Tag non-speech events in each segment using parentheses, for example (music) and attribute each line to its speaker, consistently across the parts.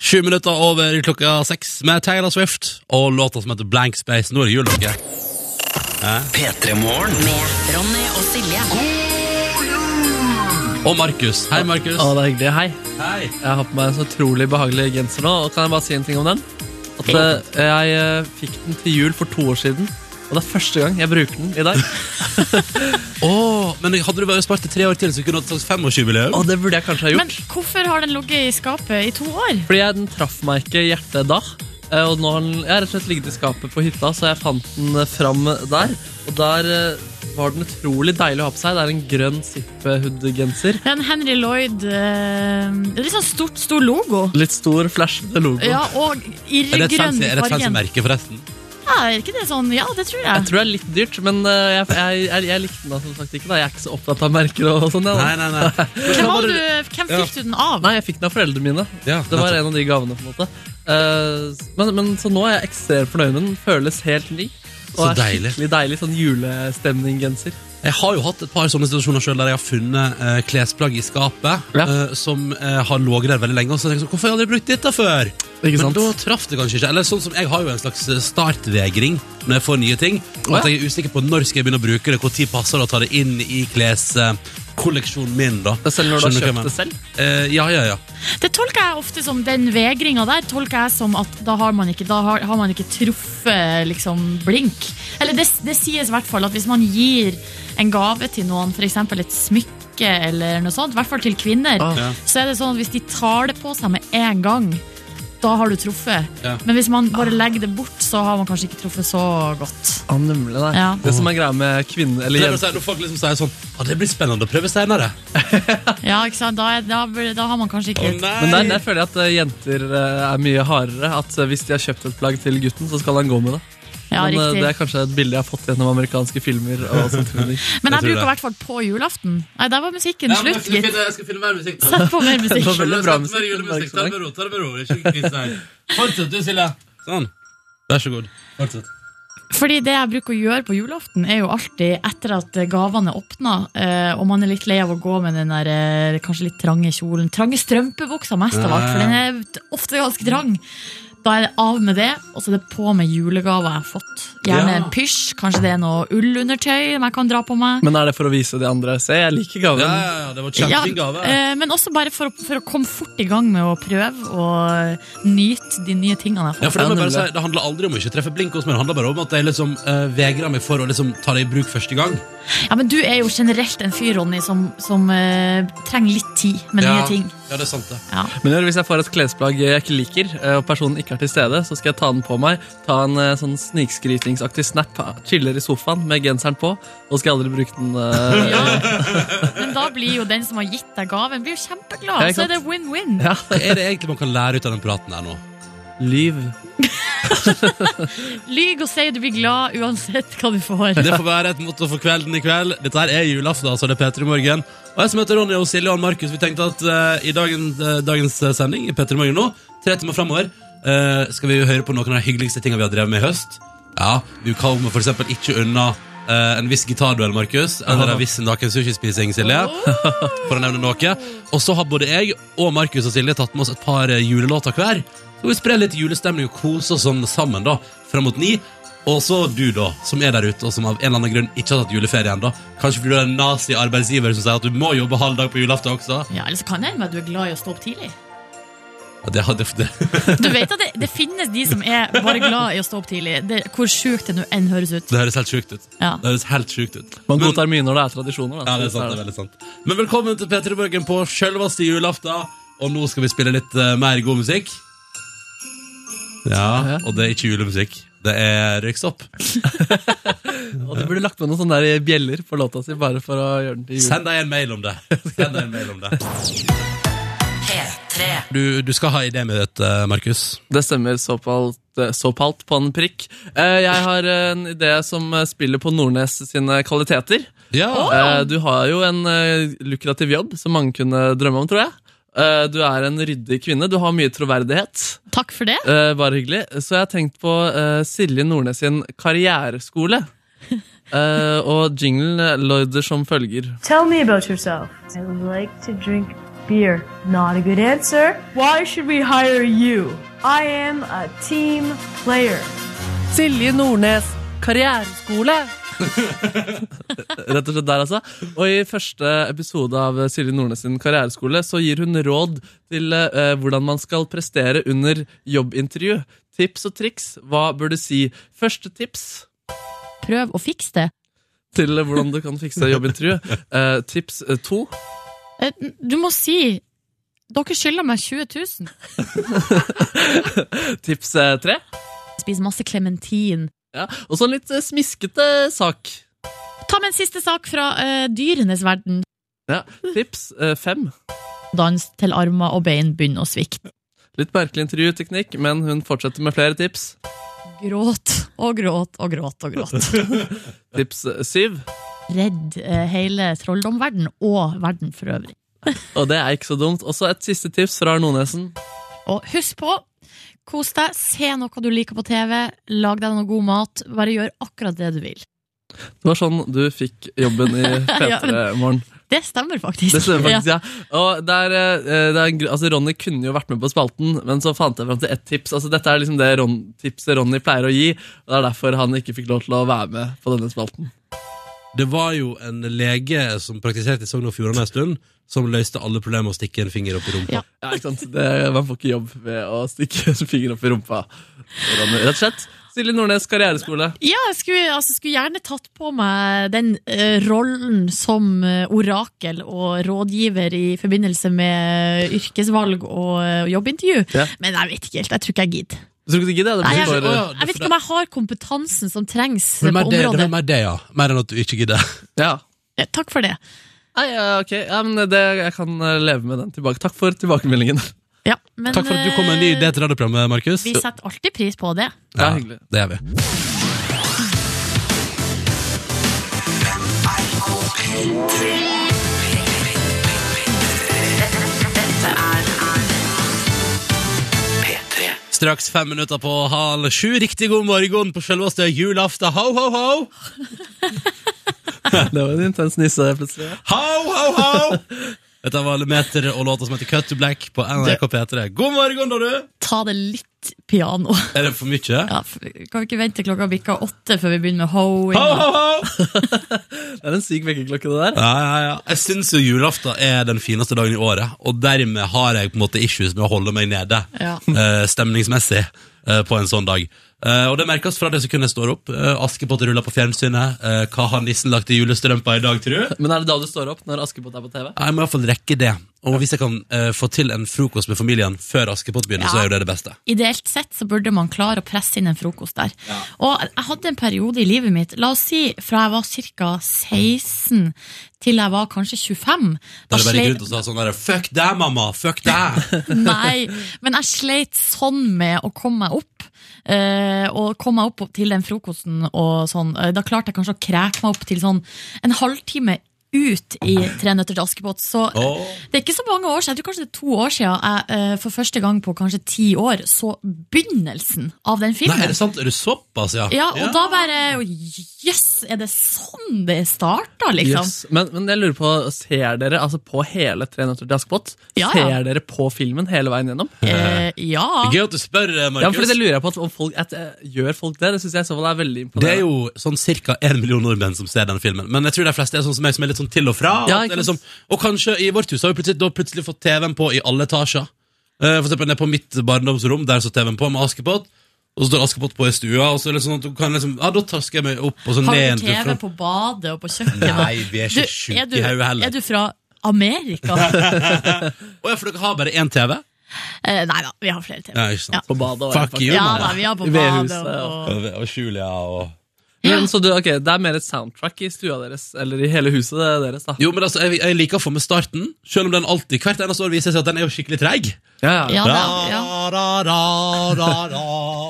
Speaker 1: Sju minutter over klokka seks med Taylor Swift og låta som heter Blank Space. Nå er det jul, dere.
Speaker 2: Med Ronny og Silje.
Speaker 1: Og Markus. Hei, Markus.
Speaker 3: Å, det er hyggelig. Hei.
Speaker 1: Hei.
Speaker 3: Jeg har på meg en så utrolig behagelig genser nå. Og kan jeg bare si en ting om den? At eh, Jeg eh, fikk den til jul for to år siden, og det er første gang jeg bruker den i dag.
Speaker 1: Åh, men hadde du bare spart i tre år til, så kunne du hatt sånn femårsjubileum.
Speaker 3: Og det burde jeg kanskje ha
Speaker 4: Men
Speaker 3: gjort.
Speaker 4: hvorfor har den ligget i skapet i to år?
Speaker 3: Fordi jeg, den traff meg ikke i hjertet da. eh, Og nå har den, jeg har rett og slett ligget i skapet på hytta, så jeg fant den eh, fram der. Og der eh, var den utrolig deilig å ha på seg. Det er en grønn zippehood-genser.
Speaker 4: Det er en Henry Lloyd eh, Det er litt sånn stort, stor logo.
Speaker 3: Litt stor, flashete logo.
Speaker 4: Ja, og
Speaker 1: Er det et
Speaker 4: irregrønn
Speaker 1: fancy, er det et fancy
Speaker 4: fargen.
Speaker 1: merke, forresten?
Speaker 4: Ja, er ikke det sånn? Ja, det tror jeg.
Speaker 3: Jeg tror det er litt dyrt, men eh, jeg, jeg, jeg, jeg likte den da som sagt ikke. da Jeg er ikke så opptatt av merker og sånn. jeg, da.
Speaker 1: Nei, nei, nei.
Speaker 4: Hvem, har du, hvem
Speaker 1: Ja.
Speaker 4: fikk du den av?
Speaker 3: Nei, jeg fikk den av foreldrene mine.
Speaker 1: Ja,
Speaker 3: Det var en av de gavene. på en måte Eh, men, men Så nå er jeg ekstremt fornøyd med den. Føles helt ny. Og
Speaker 1: Så
Speaker 3: er
Speaker 1: deilig.
Speaker 3: skikkelig deilig sånn julestemning-genser.
Speaker 1: Jeg har jo hatt et par sånne situasjoner selv der jeg har funnet eh, klesplagg i skapet
Speaker 3: Ja.
Speaker 1: eh, som eh, har ligget der veldig lenge. Og så tenker jeg sånn, hvorfor har jeg aldri brukt dette før?
Speaker 3: Ikke
Speaker 1: Men
Speaker 3: sant?
Speaker 1: da traff det kanskje ikke. Eller sånn som Jeg har jo en slags startvegring når jeg får nye ting. Og at jeg er usikker på når skal jeg begynne å bruke det, når passer det å ta det inn i kleskolleksjonen min. da
Speaker 3: Selv når du har
Speaker 1: Skjønner hva jeg
Speaker 3: kjøpt det
Speaker 1: mener?
Speaker 3: selv.
Speaker 1: Eh, ja, ja, ja.
Speaker 4: Det tolker jeg ofte som den vegringa der tolker jeg som at da har man ikke, da har, har man ikke truffet liksom, blink. Eller det, det sies i hvert fall at hvis man gir en gave til noen, f.eks. et smykke eller noe sånt, i hvert fall til kvinner,
Speaker 3: Ah.
Speaker 1: Ja.
Speaker 4: så er det sånn at hvis de tar det på seg med en gang, da har du truffet.
Speaker 1: Ja.
Speaker 4: Men hvis man bare legger det bort, så har man kanskje ikke truffet så godt.
Speaker 3: Ah, nemlig, nei.
Speaker 4: Ja.
Speaker 3: Det som er greia med kvinner eller
Speaker 1: Det er når
Speaker 3: jenter
Speaker 1: så- når folk liksom sier sånn Å, det blir spennende å prøve senere.
Speaker 4: Ja, ikke sant? Da, er- da, blir- da har man kanskje ikke
Speaker 3: men der, der føler jeg at eh, jenter eh, er mye hardere. At eh, Hvis de har kjøpt et plagg til gutten, så skal han gå med det.
Speaker 4: ja,
Speaker 3: men, eh,
Speaker 4: riktig.
Speaker 3: det er kanskje et bilde jeg har fått gjennom amerikanske filmer. Og sånt.
Speaker 4: (laughs) Men
Speaker 1: Jeg
Speaker 4: jeg
Speaker 1: tror
Speaker 4: bruker
Speaker 1: det.
Speaker 4: i hvert fall på julaften. Nei, der var musikken
Speaker 1: Ja, men
Speaker 4: slutt,
Speaker 1: jeg skal
Speaker 4: gitt.
Speaker 1: finne- jeg skal finne mer musikk. nå.
Speaker 4: Sett på mer
Speaker 3: Det
Speaker 4: musikk.
Speaker 3: var veldig bra musikk.
Speaker 1: Skjønner,
Speaker 3: Veldig
Speaker 1: skjønner, Ta det med ro, ta det med ro. Det er ikke krise her. Fortsett du, Silje. Sånn. Vær så god. Fortsett.
Speaker 4: Fordi det jeg bruker å gjøre på julaften, er jo alltid etter at gavene er åpna, eh, og man er litt lei av å gå med den der eh, kanskje litt trange kjolen. Trange strømpebuksa mest av alt, for den er ofte ganske trang. Da er det av med det, og så er det på med julegaver jeg har fått. Gjerne
Speaker 1: Ja.
Speaker 4: en pysj, kanskje det er noe ullundertøy som jeg kan dra på meg.
Speaker 3: Men er det for å vise de andre? Se, jeg liker gaven.
Speaker 1: Ja, ja, ja, det var
Speaker 4: Ja,
Speaker 1: kjempefin gave.
Speaker 4: eh, men også bare for å, for å komme fort i gang med å prøve og nyte de nye tingene jeg har
Speaker 1: Ja,
Speaker 4: fått.
Speaker 1: for Det, må jeg bare
Speaker 3: nemlig.
Speaker 1: si, det handler aldri om å ikke treffe blink hos meg. Det handler bare om at jeg liksom eh, vegrer meg for å liksom ta det i bruk første gang.
Speaker 4: Ja, men du er jo generelt en fyr, Ronny, som, som eh, trenger litt tid med nye ting.
Speaker 1: Ja, det er sant, det.
Speaker 3: Men Jørg, hvis jeg får et klesplagg jeg ikke liker, eh, og personen ikke er til stede, så skal jeg ta den på meg, ta en eh, sånn snikskrytingsaktig snap, chiller i sofaen med genseren på, og skal jeg aldri bruke den. eh, (laughs)
Speaker 1: (laughs)
Speaker 4: Ja. Men da blir jo den som har gitt deg gaven, blir jo kjempeglad.
Speaker 3: Ja, ikke
Speaker 4: Så
Speaker 3: sant?
Speaker 4: er det win-win.
Speaker 3: ja,
Speaker 1: Er det egentlig man kan lære ut av den praten her nå?
Speaker 3: lyv.
Speaker 4: Lyg og si du blir glad uansett hva du får.
Speaker 1: Det får være et motto for kvelden i kveld. Dette her er julaften, altså. Det er Peter i morgen. Og jeg som heter Ronny og Silje og Markus, vi tenkte at eh, i dagen, eh, dagens eh, sending, i Peter i morgen nå, tre timer framover, eh, skal vi høre på noen av de hyggeligste tingene vi har drevet med i høst. Ja, du kommer for eksempel ikke unna eh, en viss gitarduell, Markus, eller en viss naken sushispising, Silje, for å nevne noe. Og så har både jeg og Markus og Silje tatt med oss et par eh, julelåter hver. Så skal vi spre litt julestemning og kose oss sånn sammen da, frem mot ni. Og så du, da, som er der ute, og som av en eller annen grunn ikke har tatt juleferie ennå. Kanskje fordi du er en nazi-arbeidsgiver som sier at du må jobbe halv dag på julaften også.
Speaker 4: Ja, Eller så kan det hende at du er glad i å stå opp
Speaker 3: (laughs)
Speaker 4: tidlig.
Speaker 1: Ja, det, det, (laughs) det.
Speaker 4: Du vet at det, det finnes de som er bare glad i å stå opp tidlig, det, hvor sjukt det nå enn høres ut.
Speaker 1: det høres helt sjukt ut.
Speaker 4: Ja.
Speaker 1: Det høres helt sjukt ut.
Speaker 3: Man
Speaker 1: Men-
Speaker 3: godtar mye når det er tradisjoner. Da.
Speaker 1: Ja, det er sant, det er veldig sant. Men velkommen til P3 Morgen på selveste julaften. Og nå skal vi spille litt eh, mer god musikk. Ja, og det er ikke julemusikk. Det er røyksopp.
Speaker 3: Og du burde lagt med noen sånne der bjeller på låta si, bare for å gjøre den til jul.
Speaker 1: Send deg en mail om det. Send deg en mail om det.
Speaker 2: P3.
Speaker 1: (laughs) Du, du skal ha idé med dette, Markus.
Speaker 3: Det stemmer såpalt, eh, såpalt på en prikk. Eh, Jeg har en idé som eh, spiller på Nordnes sine kvaliteter.
Speaker 1: Ja.
Speaker 3: Eh, Du har jo en eh, lukrativ jobb som mange kunne drømme om, tror jeg. Eh, Du er en ryddig kvinne. Du har mye troverdighet.
Speaker 4: Takk for det.
Speaker 3: Eh, Bare hyggelig. Så jeg har tenkt på eh, Silje Nordnes sin karriereskole. Eh, Og jinglen lyder som følger.
Speaker 5: Tell me about yourself. I like to drink beer. Not a good answer. Why should we hire you? I am a team player.
Speaker 3: Silje Nordnes karriereskole. Rett og slett der, altså. Og i første episode av eh, Silje Nordnes sin karriereskole så gir hun råd til eh, hvordan man skal prestere under jobbintervju. Tips og triks. Hva bør du si? Første tips
Speaker 4: Prøv å fikse det.
Speaker 3: til hvordan du kan fikse jobbintervju. Eh, tips eh, to.
Speaker 4: Eh, Du må si Dere skylder meg 20 000.
Speaker 3: Tips eh, tre.
Speaker 4: Spis masse klementin.
Speaker 3: Ja. Og så en litt eh, smiskete sak.
Speaker 4: Ta med en siste sak fra eh, dyrenes verden.
Speaker 3: Ja. Tips eh, fem.
Speaker 4: Dans til armer og bein begynner å svikte.
Speaker 3: Litt merkelig intervjuteknikk, men hun fortsetter med flere tips.
Speaker 4: Gråt og gråt og gråt og gråt.
Speaker 3: (laughs) Tips eh, syv.
Speaker 4: Redd eh, hele trolldomverden og verden for øvrig.
Speaker 3: Og det er ikke så dumt. Også et siste tips fra Nordnesen.
Speaker 4: Og husk på, kos deg, se noe du liker på TV, lag deg noe god mat, bare gjør akkurat det du vil.
Speaker 3: Det var sånn du fikk jobben i
Speaker 4: Ja,
Speaker 3: P3 Morgen.
Speaker 4: Det stemmer faktisk.
Speaker 3: Det stemmer
Speaker 4: Ja.
Speaker 3: faktisk, ja. Og det er, eh, det er, en gru- altså Ronny kunne jo vært med på spalten, men så fant jeg fram til ett tips. Altså Dette er liksom det Ron tipset Ronny pleier å gi, og det er derfor han ikke fikk lov til å være med på denne spalten.
Speaker 1: Det var jo en lege som praktiserte i Sogn og Fjordane en stund, som løste alle problemer med å stikke en finger opp i rumpa.
Speaker 4: Ja.
Speaker 3: Ja, ikke sant? Det, man får ikke jobb ved å stikke (laughs) en finger opp i rumpa. Ronny, rett og slett. Silje Nordnes karriereskole.
Speaker 4: (laughs) Ja, jeg skulle, altså, skulle gjerne tatt på meg den eh, rollen som eh, orakel og rådgiver i forbindelse med eh, yrkesvalg og eh, jobbintervju,
Speaker 3: Ja.
Speaker 4: men jeg vet ikke helt. Jeg tror ikke jeg gidder.
Speaker 3: Du tror ikke du gidder? Det
Speaker 4: Nei,
Speaker 3: blir
Speaker 4: jeg,
Speaker 1: får,
Speaker 3: for,
Speaker 1: eh,
Speaker 4: jeg vet ikke om jeg har kompetansen som trengs
Speaker 1: Det
Speaker 4: på
Speaker 1: var mer det, det
Speaker 4: området.
Speaker 1: var mer det, ja. Mer enn at du ikke gidder.
Speaker 3: ja.
Speaker 4: Ja, Takk for det.
Speaker 3: Nei, ja, ok. Ja, men det, jeg kan eh, leve med den tilbake. Takk for tilbakemeldingen. (laughs)
Speaker 4: Ja, men, eh,
Speaker 1: Takk for at du kom med en ny idé til radioprogrammet, Markus.
Speaker 4: Vi setter alltid pris på det.
Speaker 3: Det er hyggelig.
Speaker 1: Det gjør vi. Straks fem minutter på halv sju. Riktig god morgen på selveste julaften. Ho, ho, ho!
Speaker 3: Det var en intens nisse plutselig.
Speaker 1: Ho, ho, ho! (laughs) Dette var Lemeter og låta som heter Cut to Black på NRK P3. God morgen, da, du!
Speaker 4: Ta det litt piano.
Speaker 1: Er det for mye?
Speaker 4: (laughs) Ja, f- kan vi ikke vente til klokka bikker åtte før vi begynner med hoeing?
Speaker 1: Ho, ho, ho!
Speaker 3: Det er en syk vekkerklokke, det der.
Speaker 1: Ja, ja, ja. Jeg syns jo julaften er den fineste dagen i året, og dermed har jeg på en måte issues med å holde meg nede
Speaker 4: Ja.
Speaker 1: eh, stemningsmessig eh, på en sånn dag. Eh, og det merkes fra det sekundet jeg står opp. Eh, Askepott ruller på fjernsynet. Eh, hva har nissen lagt i julestrømpa i dag, tru?
Speaker 3: Men er det da du står opp? Når Askepott er på TV?
Speaker 1: Jeg må iallfall rekke det. Og hvis jeg kan eh, få til en frokost med familien før Askepott begynner,
Speaker 4: Ja.
Speaker 1: så er jo det det beste.
Speaker 4: Ideelt sett så burde man klare å presse inn en frokost der. Og jeg hadde en periode i livet mitt, la oss si fra jeg var ca. 16 til jeg var kanskje 25.
Speaker 1: Da er det bare
Speaker 4: slei-
Speaker 1: gikk rundt og sa sånn der, Fuck deg, mamma! Fuck
Speaker 4: (laughs)
Speaker 1: deg!
Speaker 4: Nei, men jeg sleit sånn med å komme meg opp. eh, og komme meg opp til den frokosten og sånn. Eh, da klarte jeg kanskje å kreke meg opp til sånn en halvtime ut i Tre nøtter til Askepott. Så eh,
Speaker 1: Åh.
Speaker 4: det er ikke så mange år siden, jeg tror kanskje det er to år siden jeg eh, for første gang på kanskje ti år så begynnelsen av den
Speaker 1: Nei, er
Speaker 4: filmen.
Speaker 1: det sant? Er du såpass, ja?
Speaker 4: ja, og da bare Jøss, yes, er det sånn det starta, liksom?
Speaker 3: Jøss. Men, men jeg lurer på, ser dere altså på hele Tre nøtter til Askepott?
Speaker 4: Ja, ja.
Speaker 3: Ser dere på filmen hele veien gjennom?
Speaker 4: Eh, ja.
Speaker 1: Gøy at du spør, eh,
Speaker 3: Ja, for
Speaker 1: Markus.
Speaker 3: det lurer jeg på at om folk, at, eh, Gjør folk det? Det syns jeg i så fall er veldig
Speaker 1: Det er
Speaker 3: imponerende.
Speaker 1: jo sånn ca. én million nordmenn som ser den filmen. Men jeg tror de fleste er sånn som meg, som er litt sånn til og fra.
Speaker 3: Ja,
Speaker 1: at det er
Speaker 3: ikke sant.
Speaker 1: liksom, og kanskje i vårt hus har vi plutselig, da plutselig fått TV-en på i alle etasjer. Eh, for eksempel nede på mitt barndomsrom, der står TV-en på med Askepott. Og så står Askepott på i stua, og så er det sånn at du kan liksom Ja, da tasker jeg meg opp, og så ned
Speaker 4: Har
Speaker 1: igjen
Speaker 4: du
Speaker 1: til
Speaker 4: TV
Speaker 1: front.
Speaker 4: på badet og på kjøkkenet?
Speaker 1: Nei, vi er
Speaker 4: Du,
Speaker 1: ikke sjuke
Speaker 4: er, du,
Speaker 1: i hodet
Speaker 4: er
Speaker 1: heller.
Speaker 4: du fra
Speaker 1: (laughs)
Speaker 4: Amerika?
Speaker 1: Å ja, for dere har bare én TV?
Speaker 4: Eh, Nei da, vi har flere TV.
Speaker 1: Ja, ikke sant.
Speaker 3: På badet og
Speaker 1: Fuck you,
Speaker 4: Ja da,
Speaker 1: mann.
Speaker 4: vi har på
Speaker 3: I
Speaker 4: badet
Speaker 3: vedhuset,
Speaker 4: og
Speaker 1: Og, og Julia og
Speaker 3: Men, så du, ok, Det er mer et soundtrack i stua deres, eller i hele huset deres, da.
Speaker 1: Jo, men altså, jeg, jeg liker å få med starten, selv om den alltid hvert eneste år viser seg at den er jo skikkelig treig.
Speaker 3: Ja, ja.
Speaker 4: Ja, da, ja.
Speaker 1: Ra, ra, ra, ra, ra,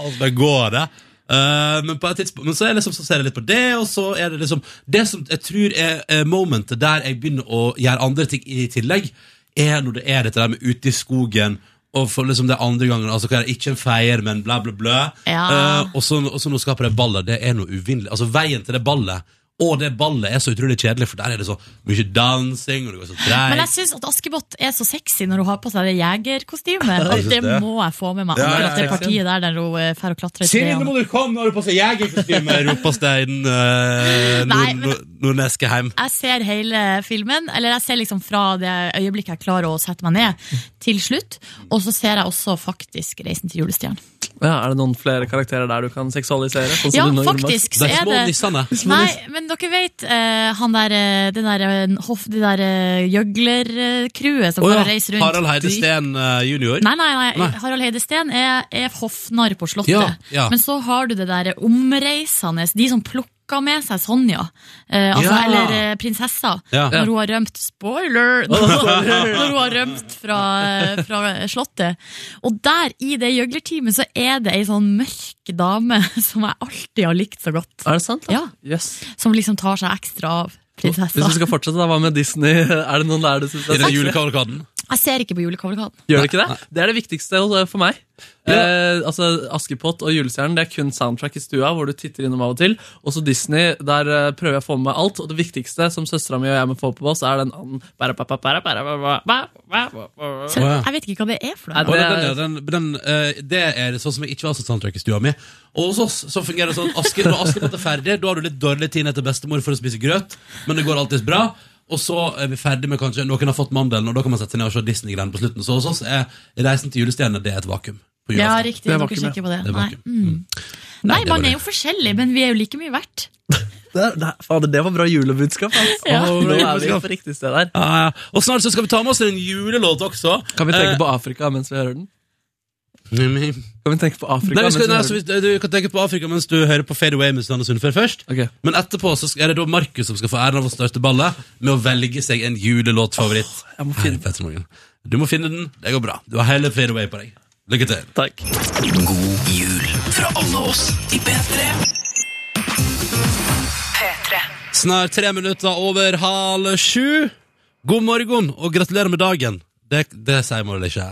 Speaker 1: og så bare går det. Eh, men, på et tidspunkt, men så, er det liksom, så ser jeg litt på det, og så er det liksom Det som jeg tror er, eh, momentet der jeg begynner å gjøre andre ting i tillegg, er når det er dette der med ute i skogen og for liksom det andre gangen altså, hva er det, Ikke en feier, men bla, bla, bla.
Speaker 4: Ja.
Speaker 1: Eh, og så og så nå skaper jeg ballet. Det er noe uvinnelig. Altså, veien til det ballet Og det ballet er så utrolig kjedelig, for der er det så mye dansing. Og det går så
Speaker 4: Men jeg
Speaker 1: treigt.
Speaker 4: syns at Askepott er så sexy når hun har på seg det jegerkostymet.
Speaker 1: jeg
Speaker 4: At
Speaker 1: synes
Speaker 4: det
Speaker 1: det.
Speaker 4: må jeg få med meg.
Speaker 1: Ja, ja,
Speaker 4: Akkurat det
Speaker 1: ja.
Speaker 4: partiet der der hun eh, fer og klatrer i
Speaker 1: Siri, nå
Speaker 4: trærne.
Speaker 1: må du komme! Nå har du på seg jegerkostyme! ropes det i den
Speaker 4: (laughs) Nei,
Speaker 1: eh, nord-
Speaker 4: men-
Speaker 1: nord- nordneske heim.
Speaker 4: Jeg ser hele filmen, eller jeg ser liksom fra det øyeblikket jeg klarer å sette meg ned, til slutt. Og så ser jeg også faktisk 'Reisen til julestjernen'.
Speaker 3: Ja, er det noen flere karakterer der du kan seksualisere? Sånn som
Speaker 4: Ja,
Speaker 3: du nå gjorde med oss?
Speaker 4: faktisk
Speaker 1: De
Speaker 4: så er
Speaker 1: små
Speaker 4: det
Speaker 1: nissene.
Speaker 4: Nei, men dere vet eh, han der, eh, den der, eh, hoff, det der eh, gjøglercrewet som
Speaker 1: Å
Speaker 4: bare
Speaker 1: ja,
Speaker 4: reiser rundt.
Speaker 1: Harald Heide
Speaker 4: De-
Speaker 1: Steen eh, junior.
Speaker 4: Nei, nei, nei,
Speaker 1: Nei.
Speaker 4: Harald Heide Steen er, er hoffnarr på Slottet.
Speaker 1: Ja, ja.
Speaker 4: Men så har du det der omreisende, de som plukker med seg Sonja. Eh, altså,
Speaker 1: Ja.
Speaker 4: Eller eh, prinsessa,
Speaker 1: Ja.
Speaker 4: når hun har rømt Spoiler! (laughs) Når, når hun har rømt fra, eh, fra Slottet. Og der, i det gjøglerteamet, så er det ei sånn mørk dame (laughs) som jeg alltid har likt så godt.
Speaker 3: Er det sant? da?
Speaker 4: Ja,
Speaker 3: Yes.
Speaker 4: Som liksom tar seg ekstra av
Speaker 3: Hvis
Speaker 4: prinsessa.
Speaker 3: du skal fortsette, da, hva med Disney? Er det noen der du synes
Speaker 1: I
Speaker 3: er
Speaker 1: den
Speaker 3: sexy?
Speaker 1: julekavalkaden.
Speaker 4: Jeg ser ikke på julekavalkaden.
Speaker 3: Gjør det ikke det? Det er det viktigste hos- for meg. Eh, altså, Askepott og Julestjernen det er kun soundtrack i stua, hvor du titter innom av og til. Også Disney, der eh, prøver jeg å få med meg alt. Og det viktigste som søstera mi og jeg må få på oss, er den anden. Bare, ba, ba, bare, bare, ba, ba, ba, ba, ba.
Speaker 4: Så
Speaker 1: Å, ja.
Speaker 4: jeg vet ikke hva det er for
Speaker 3: Nei,
Speaker 4: noe.
Speaker 1: Og
Speaker 3: Det
Speaker 1: den,
Speaker 3: er-
Speaker 1: den, den, eh, det er sånn som jeg ikke har soundtrack i stua mi. Og hos oss så fungerer det sånn at Aske, når Askepott er ferdig, da har du litt dårlig tid ned til bestemor for å spise grøt, men det går alltid bra. Og så er vi ferdig med kanskje Noen har fått mandelen, og da kan man sette seg ned og se Disney-greiene på slutten. Så hos oss er Reisen til julestjerne det er et vakuum. På
Speaker 4: Ja,
Speaker 1: julaften.
Speaker 4: riktig.
Speaker 3: Det er
Speaker 4: Dere
Speaker 3: vakuum, ja.
Speaker 4: kikker på det.
Speaker 1: Det er
Speaker 4: Nei.
Speaker 1: vakuum.
Speaker 4: Mm. Nei,
Speaker 1: det var
Speaker 4: man
Speaker 1: det.
Speaker 4: er jo forskjellig, men vi er jo like mye verdt.
Speaker 3: Der, der, fader, det var bra julebudskap. ass.
Speaker 4: Ja.
Speaker 3: Å, Nå er vi på riktig sted der.
Speaker 1: Ja, ja. Og snart så skal vi ta med oss en julelåt også.
Speaker 3: Kan vi tenke på Afrika mens vi hører den?
Speaker 1: Eh,
Speaker 3: Kan vi tenke på Afrika
Speaker 1: Nei, vi skal, nei,
Speaker 3: mens
Speaker 1: så
Speaker 3: vi hører den?
Speaker 1: vi, du kan tenke på Afrika mens du hører på Fade Away med Susanne Sundfør først.
Speaker 3: Ok.
Speaker 1: Men etterpå så skal- er det da Markus som skal få æren av å starte ballet med å velge seg en julelåtfavoritt.
Speaker 3: Jeg må
Speaker 1: Her i
Speaker 3: finne
Speaker 1: Petter Morgen. Du må finne den. Det går bra. Du har hele Fade Away på deg. Lykke til.
Speaker 3: Takk.
Speaker 6: God jul fra alle oss i P3.
Speaker 1: Snart tre minutter over halv sju. God morgen og gratulerer med dagen. Det, det sier man vel ikke?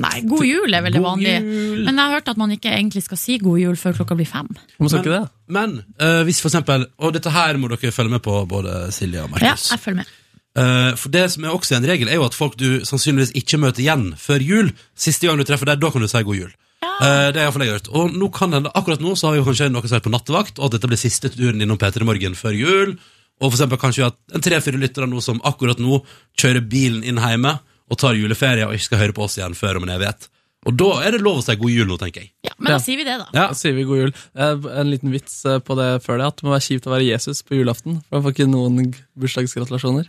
Speaker 4: Nei, god jul er veldig
Speaker 1: God
Speaker 4: vanlig.
Speaker 1: jul.
Speaker 4: Men jeg har hørt at man ikke egentlig skal si god jul før klokka blir fem.
Speaker 3: Hvorfor skal ikke det?
Speaker 1: Men eh, hvis for eksempel Og dette her må dere følge med på, både Silje
Speaker 4: Ja,
Speaker 1: og Markus.
Speaker 4: jeg følger med.
Speaker 1: Eh, for det som er også en regel, er jo at folk du sannsynligvis ikke møter igjen før jul. Siste gang du treffer deg, da kan du si god jul. Eh, det er i hvert fall jeg har hørt. Og nå kan hende, akkurat nå så har jo kanskje noen som har vært på nattevakt, og at dette blir siste turen innom Peter i morgen før jul. Og for eksempel kanskje vi har en tre-fire lyttere nå som akkurat nå kjører bilen inn hjemme og tar juleferie og ikke skal høre på oss igjen før om en evighet. Og da er det lov å si god jul nå, tenker jeg.
Speaker 4: Ja, men
Speaker 3: Ja.
Speaker 4: da sier vi det, da.
Speaker 1: Ja.
Speaker 3: Da sier vi god jul. Eh, En liten vits eh, på det før det, at det må være kjipt å være Jesus på julaften. For da får ikke noen g- bursdagsgratulasjoner.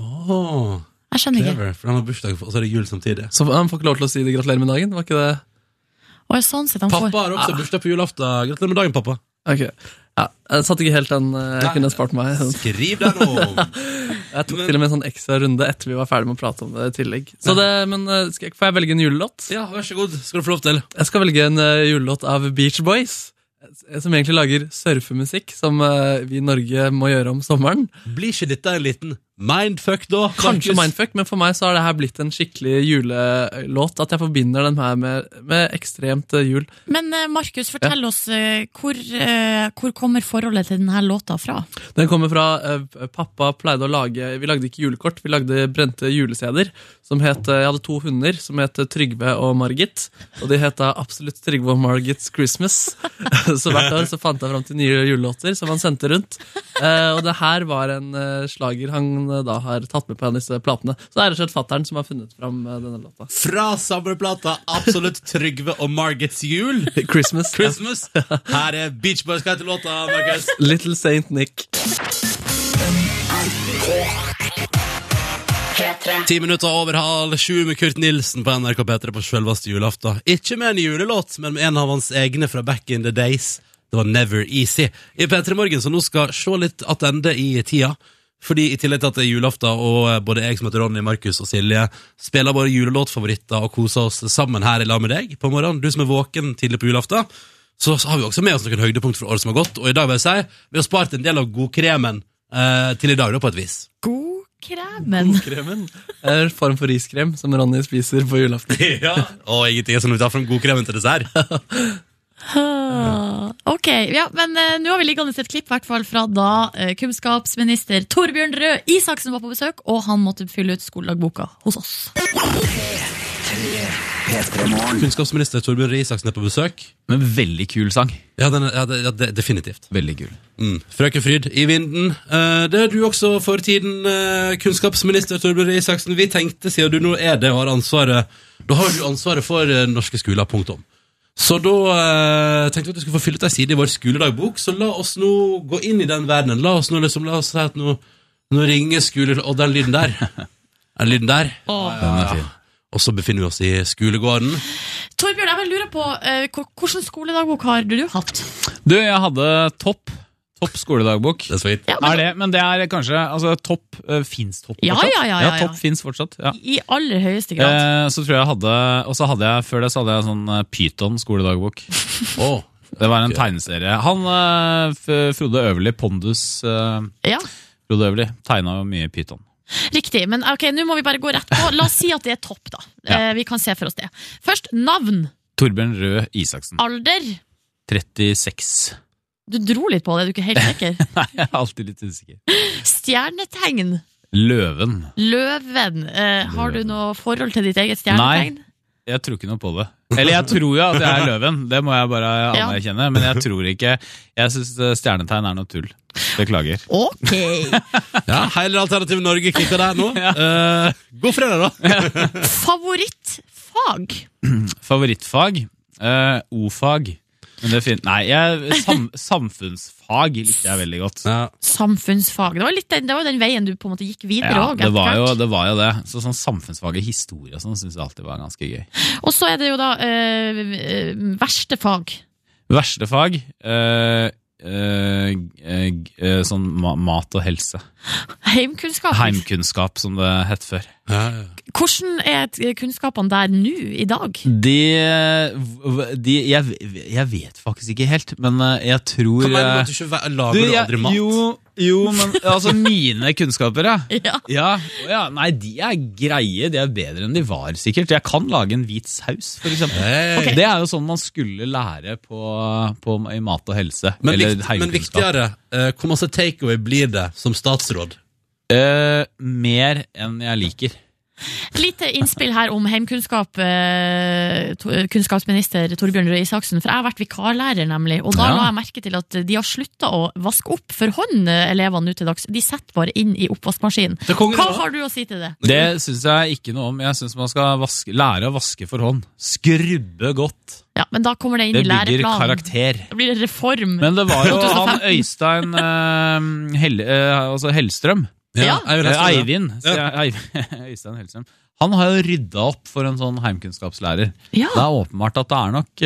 Speaker 1: Åh,
Speaker 4: Jeg skjønner ikke.
Speaker 1: clever, for han har bursdag, og så er det jul samtidig.
Speaker 3: Så han får ikke lov til å si det gratulerer med dagen. Var ikke det?
Speaker 4: Og sånn sett, han får
Speaker 1: Pappa har også bursdag på julaften. Gratulerer med dagen, pappa.
Speaker 3: Ok. Ja, jeg satt ikke helt den eh, jeg
Speaker 1: Nei.
Speaker 3: kunne spart (laughs) meg.
Speaker 1: Skriv deg nå!
Speaker 3: Jeg tok
Speaker 1: Men-
Speaker 3: til og med en sånn ekstra runde etter vi var ferdig med å prate om det i tillegg. Så det, men eh, skal jeg, Får jeg velge en julelåt?
Speaker 1: Ja, vær så god. Skal du få lov til.
Speaker 3: Jeg skal velge en eh, julelåt av Beach Boys. eh, Som egentlig lager surfemusikk, som eh, vi i Norge må gjøre om sommeren.
Speaker 1: Blir ikke dette en liten mindfuck, da?
Speaker 3: Kanskje
Speaker 1: Markus?
Speaker 3: mindfuck, men for meg så har det her blitt en skikkelig julelåt. At jeg forbinder den her med, med ekstremt eh, jul.
Speaker 4: Men eh, Markus, fortell oss eh, hvor, eh, hvor kommer forholdet til denne låta fra?
Speaker 3: Den kommer fra eh, Pappa pleide å lage Vi lagde ikke julekort, vi lagde brente juleseder. Som het, eh, jeg hadde to hunder som het Trygve og Margit. Og de het da absolutt Trygve og Margits Christmas. (laughs) så hvert år så fant jeg fram til nye julelåter som han sendte rundt. Eh, og det her var en eh, slager han eh, da har tatt med på disse platene. Så det er rett og slett fattern som har funnet fram eh, denne låta.
Speaker 1: Fra samleplata Absolutt Trygve og Margits (laughs) jul,
Speaker 3: (laughs) Christmas. ja.
Speaker 1: Christmas. Her er Beach Boys hva heter låta, Markus.
Speaker 3: Little Saint Nick.
Speaker 2: P3.
Speaker 1: Ti minutter over halv sju med Kurt Nilsen på NRK P3 på selveste julaften. Ikke med en julelåt, men med en av hans egne fra back in the days. Det var Never Easy. I P3 Morgen, så nå skal se litt attende i tida. Fordi i tillegg til at det er julaften, og eh, både jeg som heter Ronny, Markus og Silje, spiller våre julelåtfavoritter og koser oss sammen her i lag med deg på morgenen, du som er våken tidlig på julaften, så så har vi også med oss noen høydepunkt fra året som har gått. Og i dag vil jeg si, vi har spart en del av godkremen eh, til i dag, da, på et vis.
Speaker 4: Godkremen.
Speaker 3: Kremen er en form for riskrem (laughs) som Ronny spiser på julaften.
Speaker 1: ja. Og ingenting er som når vi tar fram godkremen til dessert.
Speaker 4: Ah, Ok, ja, men eh, nå har vi liggende et klipp hvert fall, fra da eh, kunnskapsminister Torbjørn Røe Isaksen var på besøk, og han måtte fylle ut skoledagboka hos oss.
Speaker 1: Kunnskapsminister Torbjørn Røe Isaksen er på besøk.
Speaker 7: Men veldig kul sang.
Speaker 1: Ja, den, er- ja, det, ja det, definitivt.
Speaker 7: Veldig kul.
Speaker 1: Mm. Frøken Fryd i vinden. Eh, det er du også for tiden, eh, kunnskapsminister Torbjørn Røe Isaksen. Vi tenkte, siden du nå er det og har ansvaret Da har du ansvaret for eh, norske skoler, punktum. Så da eh, tenkte vi at du skulle få fylle ut ei side i vår skoledagbok, så la oss nå gå inn i den verdenen. La oss nå liksom, la oss si at nå, nå ringer skolen Og den lyden der. Den lyden der.
Speaker 7: Den er fin.
Speaker 1: Og så befinner vi oss i skolegården.
Speaker 4: Torbjørn, jeg bare lurer på eh, hva- hvilken skoledagbok har du, du hatt?
Speaker 7: Du, jeg hadde topp. Topp skoledagbok.
Speaker 1: Det er så vidt.
Speaker 4: Ja,
Speaker 7: Er det, men det er kanskje altså, Topp uh, fins topp
Speaker 4: Ja,
Speaker 7: fortsatt?
Speaker 4: ja, ja, ja, ja.
Speaker 7: topp fins fortsatt. Ja.
Speaker 4: I aller høyeste grad.
Speaker 7: Eh, så tror jeg jeg hadde Og så hadde jeg før det så hadde jeg sånn eh, Python skoledagbok.
Speaker 1: Å,
Speaker 7: Det var en tegneserie. Han eh, F- Frode Øverli, Pondus eh,
Speaker 4: Ja,
Speaker 7: Frode Øverli, tegna jo mye Python.
Speaker 4: Riktig, men ok, nå må vi bare gå rett på. La oss si at det er topp, da. Eh, vi kan se for oss det. Først navn.
Speaker 7: Torbjørn Røe Isaksen.
Speaker 4: Alder.
Speaker 7: 36.
Speaker 4: Du dro litt på det, du er ikke helt sikker.
Speaker 7: Nei, (laughs) jeg er alltid litt usikker.
Speaker 4: Stjernetegn.
Speaker 7: Løven.
Speaker 4: Løven. Eh, har du noe forhold til ditt eget stjernetegn?
Speaker 7: (laughs) Jeg tror ikke noe på det. Eller jeg tror jo at jeg er løven, det må jeg bare
Speaker 4: Ja.
Speaker 7: anerkjenne. Men jeg tror ikke Jeg syns stjernetegn er noe tull. Beklager.
Speaker 4: Ok.
Speaker 1: Ja, hele Alternativ Norge kicka der nå. Eh, god fredag, da!
Speaker 4: Favorittfag.
Speaker 7: Favorittfag? Eh, O-fag. Men det er fint. Nei, jeg, sam, samfunnsfag likte jeg veldig godt.
Speaker 1: Ja.
Speaker 4: Samfunnsfag. Det var, litt den, det var jo den veien du på en måte gikk videre òg.
Speaker 7: det var jo det. Var jo det. Så sånn samfunnsfag og historie og sånn syns jeg alltid var ganske gøy.
Speaker 4: og så er det jo da eh, eh, verste fag.
Speaker 7: Verste fag? Eh, eh, eh, g- eh, sånn ma mat og helse.
Speaker 4: Heimkunnskap.
Speaker 7: Heimkunnskap, som det het før.
Speaker 1: Ja, ja.
Speaker 4: Hvordan er t- kunnskapene der nå, i dag?
Speaker 7: De, de jeg, jeg vet faktisk ikke helt, men eh, jeg tror
Speaker 1: Hva mener du
Speaker 7: eh,
Speaker 1: at du ikke ve- lager du,
Speaker 7: jeg-
Speaker 1: aldri mat?
Speaker 7: Jo, jo, men altså mine kunnskaper, ja.
Speaker 4: Ja.
Speaker 7: Ja, å ja. Nei, de er greie. De er bedre enn de var, sikkert. Jeg kan lage en hvit saus, for eksempel.
Speaker 1: Hey.
Speaker 4: Ok.
Speaker 7: Det er jo sånn man skulle lære på, på, i mat og helse.
Speaker 1: Men,
Speaker 7: eller
Speaker 1: vikt, men
Speaker 7: heimkunnskap.
Speaker 1: viktigere, eh, hvor masse takeaway blir det som statsråd?
Speaker 7: Eh, mer enn jeg liker.
Speaker 4: Et lite innspill her om heimkunnskap, eh, to- eh, kunnskapsminister Torbjørn Røe Isaksen. For jeg har vært vikarlærer, nemlig. Og da
Speaker 7: Ja.
Speaker 4: la jeg merke til at de har slutta å vaske opp for hånd, eh, elevene nå til dags. De setter bare inn i oppvaskmaskinen.
Speaker 1: Til kongen,
Speaker 4: Hva
Speaker 1: da?
Speaker 4: har du å si til det?
Speaker 7: Det syns jeg ikke noe om. Jeg syns man skal vaske, lære å vaske for hånd. Skrubbe godt.
Speaker 4: Ja, Men da kommer det inn
Speaker 7: Det
Speaker 4: i
Speaker 7: bygger
Speaker 4: læreplanen.
Speaker 7: karakter.
Speaker 4: Det blir en reform.
Speaker 7: Men
Speaker 4: (laughs)
Speaker 7: det var jo han
Speaker 4: 2015.
Speaker 7: Øystein eh, Hell, eh, altså Hellstrøm.
Speaker 4: Ja.
Speaker 1: Eivind
Speaker 7: Eh,
Speaker 1: Hestad, ja.
Speaker 7: Eivind. sier jeg. Eiv- (laughs) Øystein Hellstrøm. Han har jo rydda opp for en sånn heimkunnskapslærer.
Speaker 4: Ja.
Speaker 7: Det er åpenbart at det er nok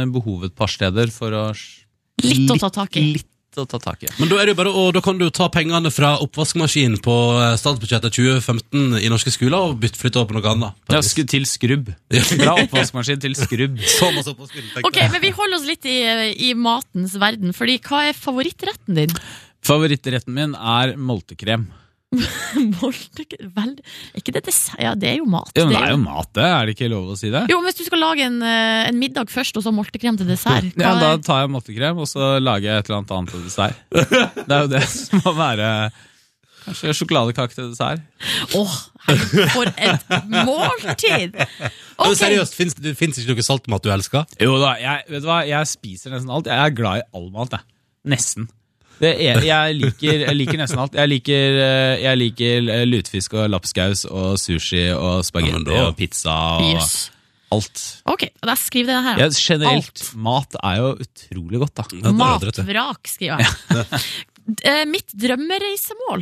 Speaker 7: eh, behov et par steder for å s-
Speaker 4: Litt å ta tak i.
Speaker 7: Litt å ta tak i.
Speaker 1: Men da, er det jo bare, å- da kan du jo ta pengene fra oppvaskmaskinen på eh, statsbudsjettet 2015 i norske skoler og bytte flytte over på noe annet.
Speaker 7: Ja, sku, til skrubb. (laughs) Fra oppvaskmaskin til (laughs) skrubb.
Speaker 1: Så masse oppvaskmaskin, tenkte
Speaker 4: Ok,
Speaker 1: jeg.
Speaker 4: men Vi holder oss litt i, i matens verden. Fordi hva er favorittretten din? (laughs)
Speaker 7: Favorittretten min er moltekrem.
Speaker 4: Moltekrem? Vel, er ikke det dessert? Ja, det er jo mat.
Speaker 7: Ja, men
Speaker 4: Det
Speaker 7: det
Speaker 4: er
Speaker 7: er jo mat, det. Er det ikke lov å si det?
Speaker 4: Jo, men Hvis du skal lage en, eh, en middag først, og så moltekrem til dessert hva
Speaker 7: Ja, da
Speaker 4: er-
Speaker 7: tar jeg moltekrem, og så lager jeg et eller annet annet til dessert. (laughs) Det er jo det som må være Kanskje sjokoladekake til dessert.
Speaker 4: Åh, herregud, for et måltid!
Speaker 1: Ja, Men
Speaker 4: Ok,
Speaker 1: seriøst, fins det finnes ikke noe saltmat du elsker?
Speaker 7: Jo da, jeg, vet du hva? jeg spiser nesten alt. Jeg er glad i all mat, jeg. Nesten. Det er, jeg, liker, jeg liker nesten alt. Jeg liker, eh, jeg liker eh, lutefisk og lapskaus og sushi og
Speaker 1: Ja, men
Speaker 7: spagetti
Speaker 1: da-
Speaker 7: og pizza og
Speaker 4: Yes.
Speaker 7: alt.
Speaker 4: Ok, da skriver jeg det her.
Speaker 7: Ja, generelt, mat er jo utrolig godt, da.
Speaker 1: Ja, det har du rett i.
Speaker 4: Matvrak, skriver jeg.
Speaker 1: (laughs)
Speaker 4: Eh, Mitt drømmereisemål.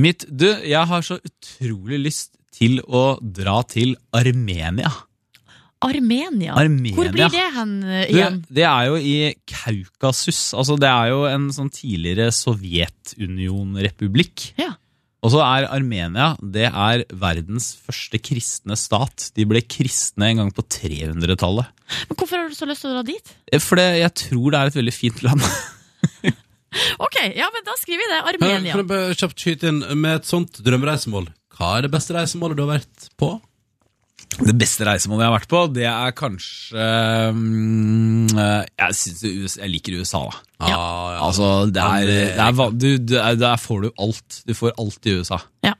Speaker 7: Mitt, du, jeg har så utrolig lyst til å dra til Armenia.
Speaker 4: Armenia.
Speaker 7: Armenia.
Speaker 4: Hvor blir det hen eh,
Speaker 7: Du,
Speaker 4: igjen?
Speaker 7: det er jo i Kaukasus. Altså, det er jo en sånn tidligere Sovjetunionrepublikk.
Speaker 4: Ja.
Speaker 7: Og så er Armenia det er verdens første kristne stat. De ble kristne en gang på 300-tallet.
Speaker 4: Men Hvorfor har du så lyst til å dra dit?
Speaker 7: Eh, For det, jeg tror det er et veldig fint land. (laughs)
Speaker 4: Ok, ja, men da skriver jeg det.
Speaker 1: Eh, Kan jeg
Speaker 4: Armenia.
Speaker 1: bare kjapt skyte inn med et sånt drømmereisemål? Hva er det beste reisemålet du har vært på?
Speaker 7: Det beste reisemålet jeg har vært på, det er kanskje mm, eh, Jeg, synes det, US- jeg liker USA, da.
Speaker 1: Ah, ja.
Speaker 7: Altså, det er,
Speaker 1: det-
Speaker 7: det er, va- du, du, eh, der får du alt. Du får alt i USA.
Speaker 4: Ja.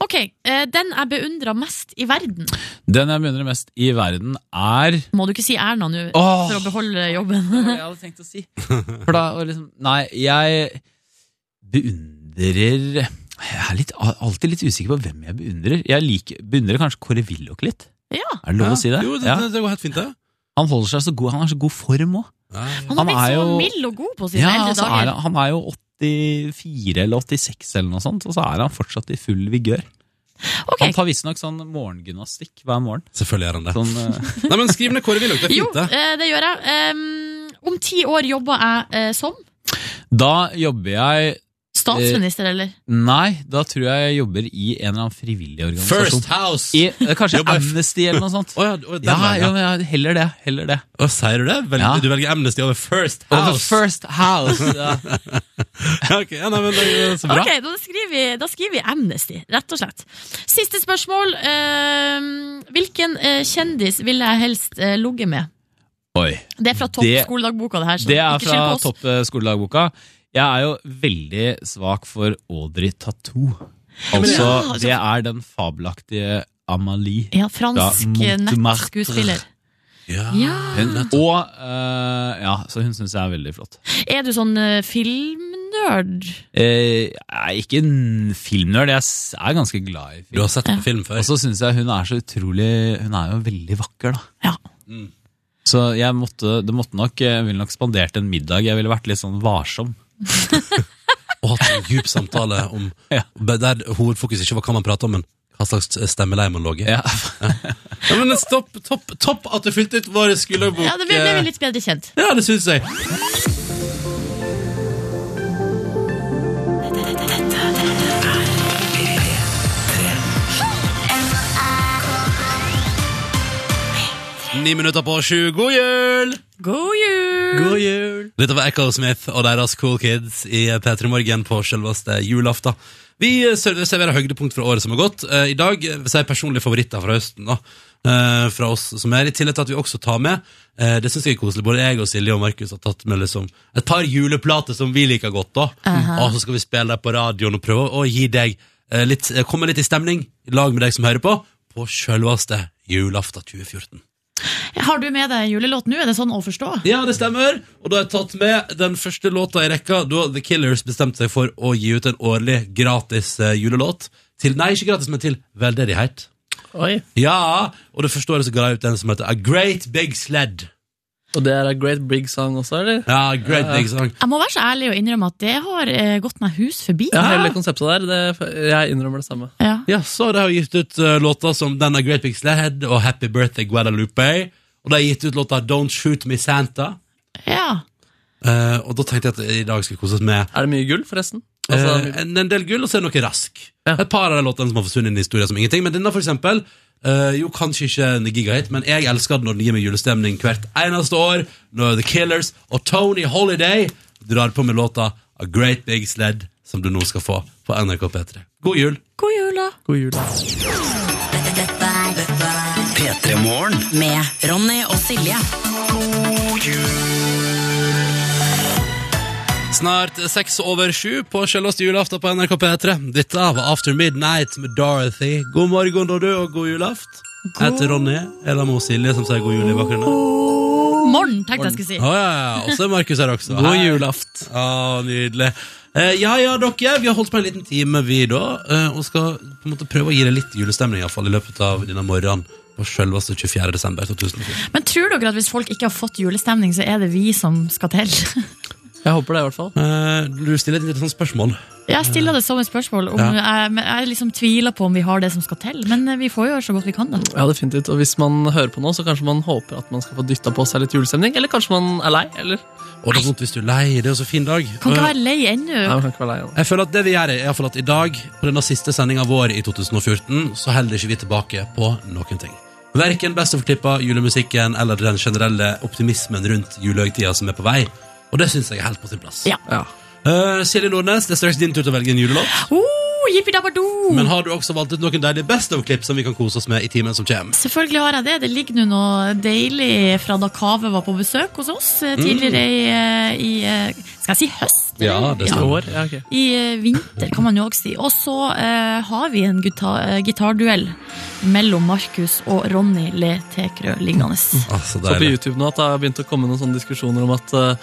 Speaker 4: Ok, eh, den jeg beundrer mest i verden
Speaker 7: Den jeg beundrer mest i verden, er
Speaker 4: Må du ikke si Erna nå
Speaker 7: Åh!
Speaker 4: for å beholde jobben?
Speaker 7: jeg hadde tenkt å si. For da, og liksom, nei, jeg beundrer Jeg er litt, alltid litt usikker på hvem jeg beundrer. Jeg liker, beundrer kanskje Kåre Willoch litt.
Speaker 4: Ja,
Speaker 7: Er det lov å si det?
Speaker 1: Jo, det,
Speaker 7: Ja.
Speaker 1: det, det går helt fint, det.
Speaker 7: Han holder seg så god, han har så god form òg.
Speaker 1: Ja, ja.
Speaker 4: Han har
Speaker 7: Han
Speaker 4: blitt
Speaker 7: er
Speaker 4: så
Speaker 7: jo-
Speaker 4: mild og god på sine
Speaker 7: Ja,
Speaker 4: eldre
Speaker 7: altså, er
Speaker 4: dager.
Speaker 7: han, han er jo 84 eller 86 eller noe sånt, og så er han fortsatt i full vigør.
Speaker 4: Ok,
Speaker 7: Han tar visstnok sånn morgengymnastikk hver morgen.
Speaker 1: Selvfølgelig gjør han det.
Speaker 7: Sånn, eh, (laughs)
Speaker 1: Nei, men Skriv ned Kåre Willoch, det er
Speaker 4: Jo,
Speaker 1: fint, det.
Speaker 4: eh, det gjør jeg. Um, om ti år jobber jeg eh, som
Speaker 7: da jobber jeg Eh,
Speaker 4: statsminister, eller?
Speaker 7: Nei, da tror jeg jeg jobber i en eller annen frivillig organisasjon.
Speaker 1: First House!
Speaker 7: I, eh, kanskje
Speaker 1: Jobber-
Speaker 7: Amnesty eller noe sånt.
Speaker 1: Å ja, å, den
Speaker 7: Ja,
Speaker 1: veien, ja.
Speaker 7: ja, men jeg- heller det. Heller det.
Speaker 1: Å, sier du det? Velger,
Speaker 7: Ja.
Speaker 1: Du velger Amnesty over First
Speaker 7: Og
Speaker 1: House?
Speaker 7: the first house. Ja.
Speaker 1: Ja, (laughs) ok. ja, nei, men det er så bra.
Speaker 4: Ok, da skriver, vi, da skriver vi Amnesty, rett og slett. Siste spørsmål. ehm, hvilken eh, kjendis ville jeg helst uh, ligget med?
Speaker 7: Oi.
Speaker 4: Det er fra
Speaker 7: Det-
Speaker 4: toppskoledagboka, det her. så
Speaker 7: Det er
Speaker 4: ikke skyld
Speaker 7: fra
Speaker 4: på oss.
Speaker 7: topp eh, skoledagboka. Jeg er jo veldig svak for Audrey Tattoo.
Speaker 4: Ja,
Speaker 7: Altså,
Speaker 4: altså-
Speaker 7: det er den fabelaktige Amalie.
Speaker 4: Ja, fransk
Speaker 7: Ja,
Speaker 4: eh,
Speaker 7: Montmartre.
Speaker 4: nettskuespiller.
Speaker 1: Ja.
Speaker 4: Ja.
Speaker 7: Hun, og eh, Ja, så hun syns jeg er veldig flott.
Speaker 4: Er du sånn eh, filmnerd?
Speaker 7: Eh, jeg er ikke en filmnerd, jeg s- er ganske glad i
Speaker 1: Du
Speaker 7: film.
Speaker 1: har sett på film før.
Speaker 7: Og så syns jeg hun er så utrolig Hun er jo veldig vakker, da.
Speaker 4: Ja.
Speaker 7: Så jeg måtte, det måtte nok, eh, jeg ville nok spandert en middag. Jeg ville vært litt sånn varsom.
Speaker 1: Og hatt en djup samtale (laughs) om
Speaker 7: Ja.
Speaker 1: der hovedfokus ikke var hva man prater om, men hva slags stemmeleie man logger.
Speaker 7: Ja.
Speaker 1: Ja, men stopp, topp, topp at du fylte ut vår skoledagbok.
Speaker 4: Ja, det ble,
Speaker 7: eh,
Speaker 4: ble vi litt bedre kjent.
Speaker 1: (laughs) Ja, det syns jeg. Ni minutter på sju. God jul!
Speaker 4: God jul!
Speaker 1: jul! Dette var Echo Smith og deres Cool Kids i P3 Morgen på selveste julaften. Vi eh, ser- serverer høydepunkt fra året som har gått. Eh, I dag eh, vil jeg si personlige favoritter fra høsten. da, eh, fra oss som er, I tillegg til at vi også tar med eh, Det synes jeg er koselig. Både jeg og Silje og Markus har tatt med liksom et par juleplater som vi liker godt. da, Og så skal vi spille dem på radioen og prøve å gi deg eh, litt, eh, komme litt i stemning i lag med deg som hører på, på selveste julaften 2014.
Speaker 4: Har du med deg en julelåt nå? Er det sånn å forstå?
Speaker 1: Ja, det stemmer. Og da har jeg tatt med den første låta i rekka da The Killers bestemte seg for å gi ut en årlig gratis eh, julelåt. Til, nei, ikke gratis, men til veldedighet.
Speaker 3: Oi.
Speaker 1: Ja, og det første året så ga jeg ut en som heter A Great Big Sled.
Speaker 3: Og det er A Great Big Song også, eller?
Speaker 1: Ja, A Great Big Song.
Speaker 4: Jeg må være så ærlig og innrømme at det har eh, gått meg hus forbi.
Speaker 3: Ja, hele konseptet der, det, jeg innrømmer det samme.
Speaker 4: Ja.
Speaker 1: Ja, så de har gitt ut eh, låter som den A Great Big Sled og Happy Birthday Guadalupe. Og de har gitt ut låta Don't Shoot Me Santa.
Speaker 4: Ja.
Speaker 1: Eh, og da tenkte jeg at i dag skal vi kose oss med
Speaker 3: Er det mye gull, forresten? Altså,
Speaker 1: Eh, en, en del gull, og så er det noe rask.
Speaker 3: Ja.
Speaker 1: Et par av de låtene som har forsvunnet inn i historien som ingenting. Men denne, for eksempel, eh, jo kanskje ikke en gigahit, men jeg elsker den når den gir meg julestemning hvert eneste år. Når The Killers og Tony Holiday drar på med låta A Great Big Sled, som du nå skal få på NRK P3. God jul!
Speaker 4: God jul, da.
Speaker 3: god jul.
Speaker 2: Dette, dette er
Speaker 6: P3 Morgen.
Speaker 2: med Ronny og Silje.
Speaker 1: Snart seks over sju på selveste julaften på NRK P3. Dette var After Midnight med Dorothy. God morgen, da du, og god julaft. Jeg heter Ronny. Er det med Silje som sier god jul i bakgrunnen?
Speaker 4: Morgen, tenkte jeg skulle si.
Speaker 1: Å ja, ja. Og så er Markus her også.
Speaker 3: God
Speaker 1: Hei.
Speaker 3: julaft.
Speaker 1: Å, nydelig. Eh, ja, ja, dere. Vi har holdt på en liten time, vi da. eh, og skal på en måte prøve å gi deg litt julestemning i, hvert fall, i løpet av denne morgenen på selveste 24. desember 2014.
Speaker 4: Men tror dere at hvis folk ikke har fått julestemning, så er det vi som skal til? (laughs)
Speaker 3: Jeg håper det, i hvert fall.
Speaker 1: Eh, du stiller et litt sånn spørsmål.
Speaker 4: Jeg stiller det som et spørsmål. Om
Speaker 1: Ja.
Speaker 4: jeg, men jeg liksom tviler på om vi har det som skal til, men eh, vi får gjøre så godt vi kan, da.
Speaker 3: Ja, definitivt. Og hvis man hører på nå, så kanskje man håper at man skal få dytta på seg litt julestemning. Eller kanskje man er lei, eller?
Speaker 1: Og det er vondt hvis du er lei. Det er jo så fin dag.
Speaker 4: Kan
Speaker 1: Eh,
Speaker 4: ikke være lei ennå.
Speaker 3: Nei, man kan ikke være lei av det.
Speaker 1: Jeg føler at det vi gjør er i hvert fall at i dag, på denne siste sendinga vår i 2014, så holder ikke vi tilbake på noen ting. Verken Best of-klippa, julemusikken eller den generelle optimismen rundt julehøytida som er på vei. Og det syns jeg er helt på sin plass.
Speaker 4: Ja.
Speaker 3: Ja.
Speaker 1: Eh, Silje Nordnes, det er straks din tur til å velge en julelåt.
Speaker 4: Oh, Jippi-dabba-do!
Speaker 1: Men har du også valgt ut noen deilige Best of-klipp som vi kan kose oss med i timen som kommer?
Speaker 4: Selvfølgelig har jeg det. Det ligger nå noe deilig fra da Kave var på besøk hos oss
Speaker 1: Mm.
Speaker 4: eh, tidligere i, eh, i eh, Skal jeg si høst?
Speaker 1: Ja, det stemmer.
Speaker 3: År? Ja, ok.
Speaker 4: I eh, vinter, kan man jo også si. Og så eh, har vi en guta- eh, gitarduell mellom Markus og Ronny Le Tekrø liggende.
Speaker 1: Ah, så
Speaker 3: Så på
Speaker 1: deilig.
Speaker 3: YouTube nå at det har begynt å komme noen sånne diskusjoner om at eh,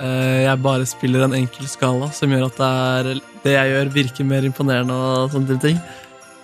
Speaker 3: jeg bare spiller en enkel skala, som gjør at det, er, det jeg gjør, virker mer imponerende og sånne type ting.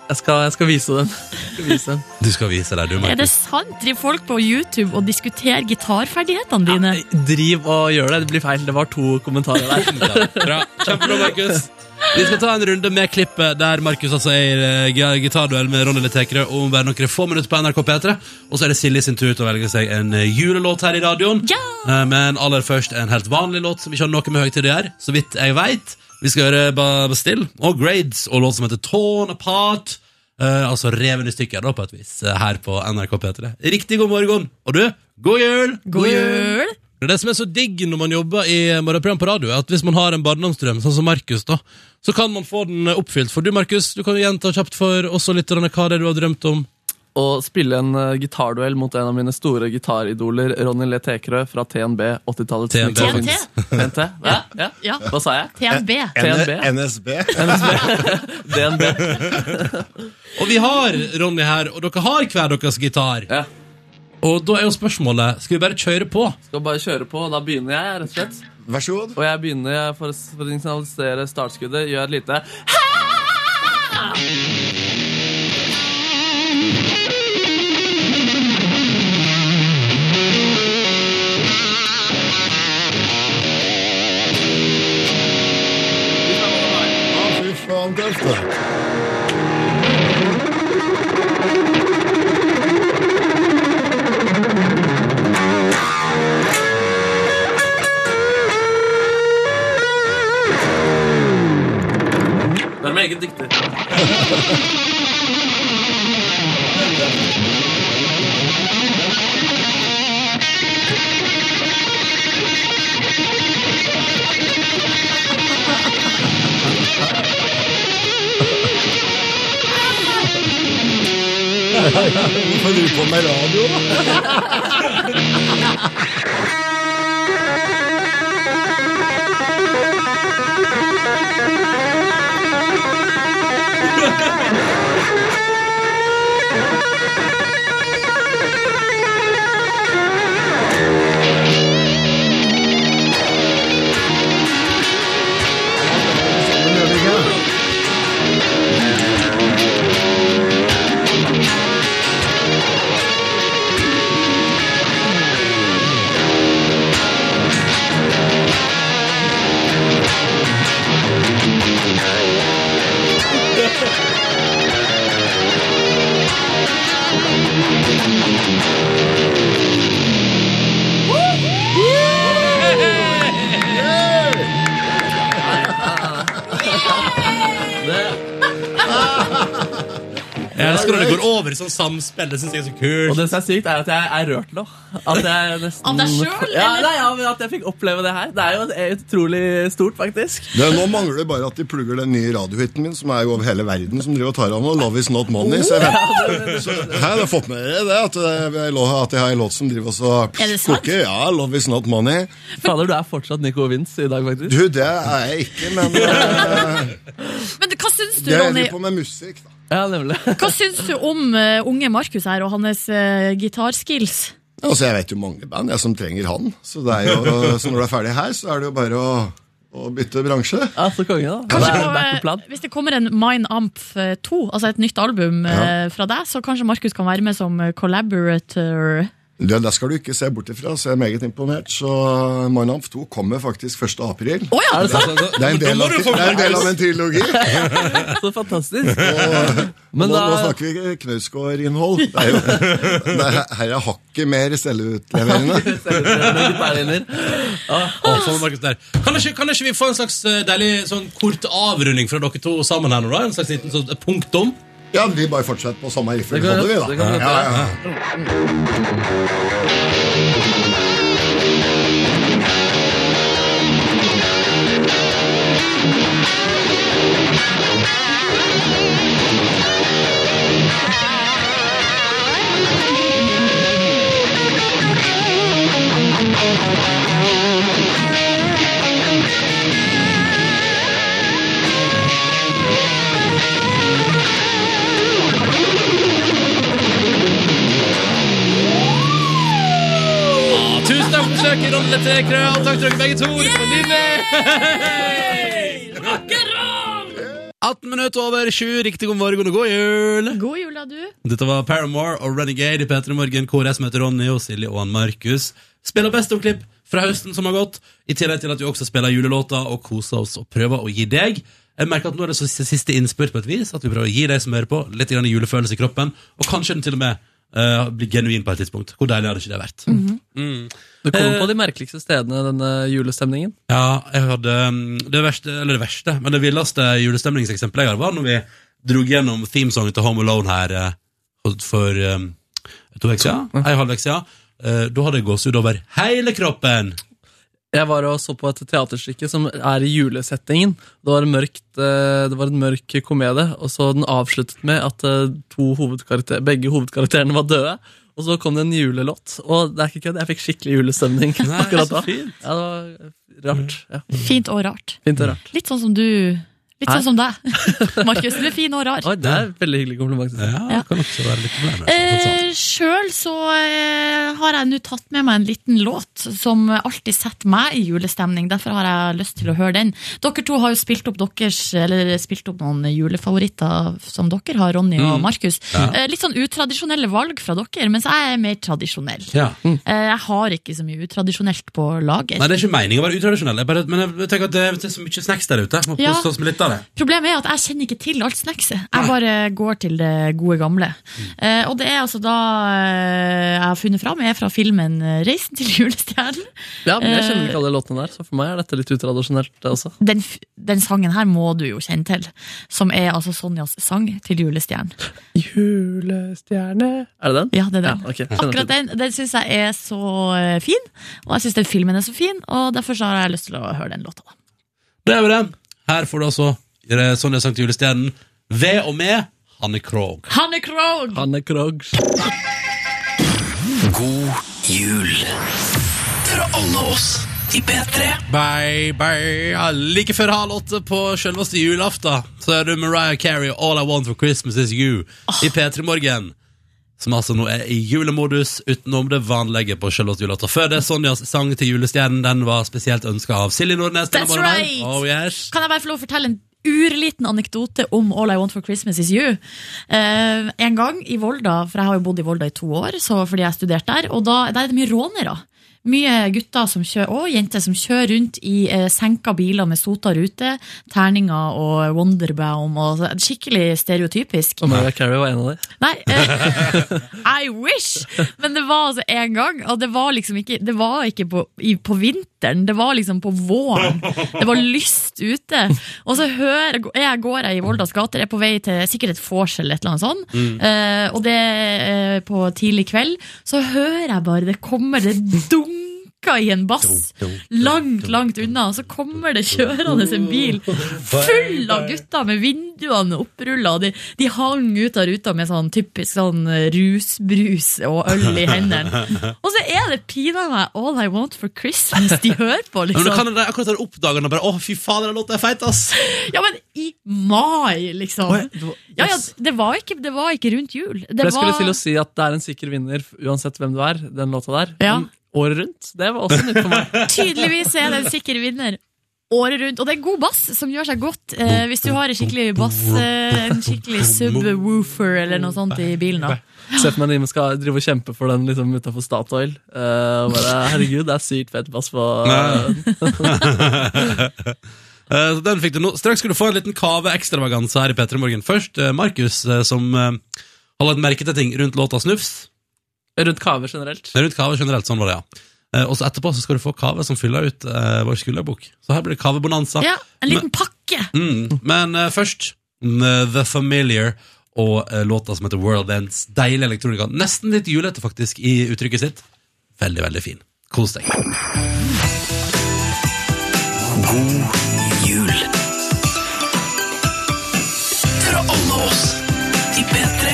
Speaker 3: Jeg skal, jeg skal vise dem. Jeg skal vise dem.
Speaker 1: Du skal vise deg, du,
Speaker 4: Er det
Speaker 1: Markus.
Speaker 4: sant? Driver folk på YouTube og diskuterer gitarferdighetene dine?
Speaker 3: Nei, driv og gjør det. Det blir feil. Det var to kommentarer der.
Speaker 1: Ja, Bra. Kjempebra, Markus. Vi skal ta en runde med klippet der Markus altså er i eh, gi- gitarduell med Ronny Letekerø om bare noen få minutter på NRK P3. Og så er det Silje sin tur til å velge seg en eh, julelåt her i radioen.
Speaker 4: Ja!
Speaker 1: Eh, Men aller først en helt vanlig låt som ikke har noe med høytid å gjøre, så vidt jeg veit. Vi skal høre Ba- Bastille og Grades og låt som heter Torn Apart. Eh, altså reven i stykker, da, på et vis, eh, her på NRK P3. Riktig god morgen. Og du, god jul!
Speaker 4: God jul!
Speaker 1: Det er det som er så digg når man jobber i morgenprogram på radio, at hvis man har en barndomsdrøm, sånn som Markus, da, så kan man få den oppfylt. For du, Markus, du kan jo gjenta kjapt for også lytterne hva det er du har drømt om.
Speaker 3: (laughs) Å spille en eh, gitarduell mot en av mine store gitaridoler, Ronny Le Tekerø fra TNB 80-tallets
Speaker 1: TNB.
Speaker 3: Nickelfins. TNT? Ja, ja.
Speaker 4: Ja.
Speaker 3: Hva sa jeg?
Speaker 4: TNB.
Speaker 3: TNB?
Speaker 8: NSB.
Speaker 3: (laughs) DNB.
Speaker 1: Og vi har Ronny her, og dere har hver deres gitar.
Speaker 3: Ja.
Speaker 1: Og da er jo spørsmålet, skal vi bare kjøre på?
Speaker 3: Skal bare kjøre på, og da begynner jeg, rett og slett.
Speaker 8: Vær så god.
Speaker 3: Og jeg begynner for å for å signalisere startskuddet. Gjør et lite
Speaker 8: Å, fy faen, tøft. da.
Speaker 3: Det er meget dyktig.
Speaker 8: Hvorfor driver du på med radio? da?
Speaker 1: Jeg elsker når det går over i sånn samspill, det synes jeg er så
Speaker 3: Og
Speaker 1: kult.
Speaker 3: det som er sykt, er at jeg er rørt nå. At jeg nesten
Speaker 4: Av deg selv,
Speaker 3: Ja,
Speaker 4: eller?
Speaker 3: nei, ja, men at jeg fikk oppleve det her. Det er jo et- utrolig stort, faktisk.
Speaker 8: Du, nå mangler det bare at de plugger den nye radiohytten min, som er jo over hele verden, som driver og tar av nå. Love is not money. Så jeg vet. Så, (laughs) hæ, du har fått med dere det? At eh, jeg, lå- at jeg har en låt som driver og så
Speaker 4: Er det sant?
Speaker 8: koker? Ja, love is not money.
Speaker 3: Fader, du er fortsatt Nico Vince i dag, faktisk.
Speaker 8: Du, det er jeg ikke,
Speaker 4: (laughs)
Speaker 8: men eh,
Speaker 4: Men hva syns du,
Speaker 8: det jeg
Speaker 4: Ronny?
Speaker 8: driver på med musikk, da.
Speaker 3: Ja, nemlig.
Speaker 4: Hva syns du om eh, unge Markus her og hans eh, gitarskills?
Speaker 8: Altså, jeg vet jo mange band jeg som trenger han. Så, det er jo, (laughs) så når du er ferdig her, så er det jo bare å, å bytte bransje.
Speaker 3: Ja, så konge, da.
Speaker 4: Kanskje
Speaker 3: Det er
Speaker 4: på,
Speaker 3: back to plan.
Speaker 4: eh, hvis det kommer en Mine Amp eh, 2, altså et nytt album eh, fra deg, så kanskje Markus kan være med som eh, collaborator.
Speaker 8: Du, det skal du ikke se bort ifra, så jeg er meget imponert. Så Mine 2 kommer faktisk 1. april.
Speaker 4: Å ja!
Speaker 8: Det er en del av, det er en, del av en trilogi.
Speaker 3: Så fantastisk.
Speaker 8: nå,
Speaker 3: Men da-
Speaker 8: nå snakker vi ikke Knausgård-innhold. Det er jo- det er- Her er hakket mer selvutleverende.
Speaker 1: Å, sånn, Markus, der. Kan, ikke, kan ikke vi få en slags eh, deilig sånn kort avrunding fra dere to sammen her nå, da? En slags liten sånn punktum?
Speaker 8: Ja, vi bare fortsetter på samme riffel.
Speaker 3: Det kan-
Speaker 8: holder vi,
Speaker 3: det
Speaker 8: da.
Speaker 3: kan vi
Speaker 8: Ja, ja, ja.
Speaker 1: Å, Tusen takk for besøket, Ronny T. Krø, og takk til dere begge to. Det var (laughs) nydelig! 18 minutter over 7. Riktig god morgen og god jul!
Speaker 4: God jul, da, du.
Speaker 1: Dette var Paramore og Renegade i P3 Morgen, hvor jeg som heter Ronny og Silje og han Markus. Spiller best av klipp fra høsten som har gått, i tillegg til at vi også spiller julelåter og koser oss og prøver å gi deg. Jeg merker at nå er det så siste- siste innspurt på et vis, at vi prøver å gi deg som hører på, litt grann julefølelse i kroppen, og kanskje den til og med eh, blir genuin på et tidspunkt. Hvor deilig hadde ikke det vært?
Speaker 3: Du kommer på de merkeligste stedene denne julestemningen.
Speaker 1: Ja, jeg hadde um, det verste, eller det verste, men det villeste julestemningseksempelet jeg har, var når vi dro gjennom themesongen til Home Alone her eh, for- for um, to uker siden. Ei halv uke siden. Eh, Da hadde jeg gåsehud over hele kroppen.
Speaker 3: Jeg var og så på et teaterstykke som er i julesettingen. Det var, mørkt, eh, det var en mørk komedie, og så den avsluttet med at eh, to hovedkarakter, begge hovedkarakterene var døde. Og så kom det en julelåt, og det er ikke kødd, jeg fikk skikkelig julestemning akkurat da. Ja, det var rart. Ja,
Speaker 4: Fint og rart.
Speaker 3: fint og rart.
Speaker 4: Litt sånn som du Litt
Speaker 3: Hæ?
Speaker 4: sånn som deg. (laughs) Markus, du er fin og rar.
Speaker 3: Oi, det er et veldig hyggelig kompliment. synes jeg.
Speaker 1: Ja, det kan også være litt altså. Sånn problemer.
Speaker 4: Eh, Sjøl så eh, har jeg nå tatt med meg en liten låt som alltid setter meg i julestemning. Derfor har jeg lyst til å høre den. Dere to har jo spilt opp, deres, eller spilt opp noen julefavoritter som dere har, Ronny og Markus. Eh, litt sånn utradisjonelle valg fra dere, mens jeg er mer tradisjonell.
Speaker 1: Ja.
Speaker 4: Eh, jeg har ikke så mye utradisjonelt på lager.
Speaker 1: Nei, det er ikke meningen å være utradisjonell, jeg bare, men jeg tenker at det er- det er så mye snacks der ute. Jeg Må
Speaker 4: Ja.
Speaker 1: kose oss med litt av det.
Speaker 4: Problemet er at jeg kjenner ikke til alt snackset. Jeg bare går til det gode gamle.
Speaker 3: Mm.
Speaker 4: Eh, og det er altså da eh, jeg har funnet fram, er fra filmen eh, 'Reisen til julestjernen'.
Speaker 3: Ja, men jeg kjenner
Speaker 4: Eh,
Speaker 3: ikke alle låtene der, så for meg er dette litt utradisjonelt det også.
Speaker 4: Den, f- den sangen her må du jo kjenne til, som er altså Sonjas sang til julestjernen.
Speaker 3: Julestjerne Er det den?
Speaker 4: Ja, det er
Speaker 3: Ja,
Speaker 4: den.
Speaker 3: ok. Skjønner
Speaker 4: Akkurat
Speaker 3: til.
Speaker 4: den den syns jeg er så eh, fin, og jeg syns den filmen er så fin, og derfor så har jeg lyst til å høre den låta. da.
Speaker 1: Det er vel det. Her får du altså eh, Sonja Sankt Julestjernen ved og med Hanne Krogh.
Speaker 4: Hanne Krogh!
Speaker 3: Hanne Krogs.
Speaker 6: God jul fra alle oss i P3.
Speaker 1: Bye, bye. Ja, Like før halv åtte på selveste julaften så er det Mariah Carey All I Want For Christmas Is You i P3 Morgen. Som altså nå er i julemodus utenom det vanlige på selveste julaften. Før det, Sonjas sang til julestjernen Den var spesielt ønska av Silje Nordnes. denne
Speaker 4: That's
Speaker 1: morgenen.
Speaker 4: right.
Speaker 1: Oh, yes.
Speaker 4: Kan jeg bare få lov å fortelle en urliten anekdote om All I Want For Christmas Is You? Eh, en gang i Volda, for jeg har jo bodd i Volda i to år så fordi jeg studerte der, og da, der er det mye rånere. Mye gutter som kjører, og jenter som kjører rundt i eh, senka biler med sota rute, terninger og Wonderbaum. Og, så- skikkelig stereotypisk.
Speaker 3: Og Mariah Carey var en av de.
Speaker 4: Nei, eh, I wish! Men det var altså en gang, og det var liksom ikke, det var ikke på, i, på vinteren, det var liksom på våren. Det var lyst ute. Og så hører, jeg går jeg i Voldas gater, er på vei til sikkert et vors eller et eller annet sånt. Eh, og det eh, på tidlig kveld, så hører jeg bare det kommer, det dunker i en bass. Langt, langt unna, og så kommer det kjørende en bil full av gutter med vinduene opprulla. De, de hang ut av ruta med sånn typisk sånn eh, rusbrus og øl i hendene. Og så er det pinadø meg All I Want for Christmas de hører på,
Speaker 1: Men kan
Speaker 4: liksom.
Speaker 1: dere akkurat der oppdager den og bare Å, fy faen, den låta er feit, ass!
Speaker 4: Ja, men i mai, liksom. Ja, ja, det var ikke, det var ikke rundt jul. Det
Speaker 3: For jeg skulle
Speaker 4: var-
Speaker 3: til å si at det er en sikker vinner uansett hvem du er, den låta der.
Speaker 4: Ja.
Speaker 3: Men Året rundt. Det var også nytt for meg.
Speaker 4: (laughs) Tydeligvis er det en sikker vinner året rundt. Og det er god bass som gjør seg godt eh, hvis du har en skikkelig bass, eh, en skikkelig subwoofer eller noe sånt i bilen. da.
Speaker 3: Se for meg de som skal drive og kjempe for den liksom, utafor Statoil. eh, og bare, herregud, det er sykt fett bass på
Speaker 1: Nei. Eh, så Den fikk du nå. Straks skal du få en liten kave ekstravaganse her i P3 Morgen. Først eh, Markus, eh, som eh, har lagt merke til ting rundt låta Snufs.
Speaker 3: Rundt kave generelt.
Speaker 1: Nei, rundt kave generelt, sånn var det, ja. Eh, og så etterpå så skal du få kave som fyller ut eh, vår skulderbok. Så her blir det kavebonanza.
Speaker 4: Ja, En liten pakke!
Speaker 1: Mm. Men eh, først mm, The Familiar og eh, låta som heter World Ends. Deilig elektronika. Nesten litt julete, faktisk, i uttrykket sitt. Veldig, veldig fin. Kos deg.
Speaker 6: Jul fra alle oss i P3.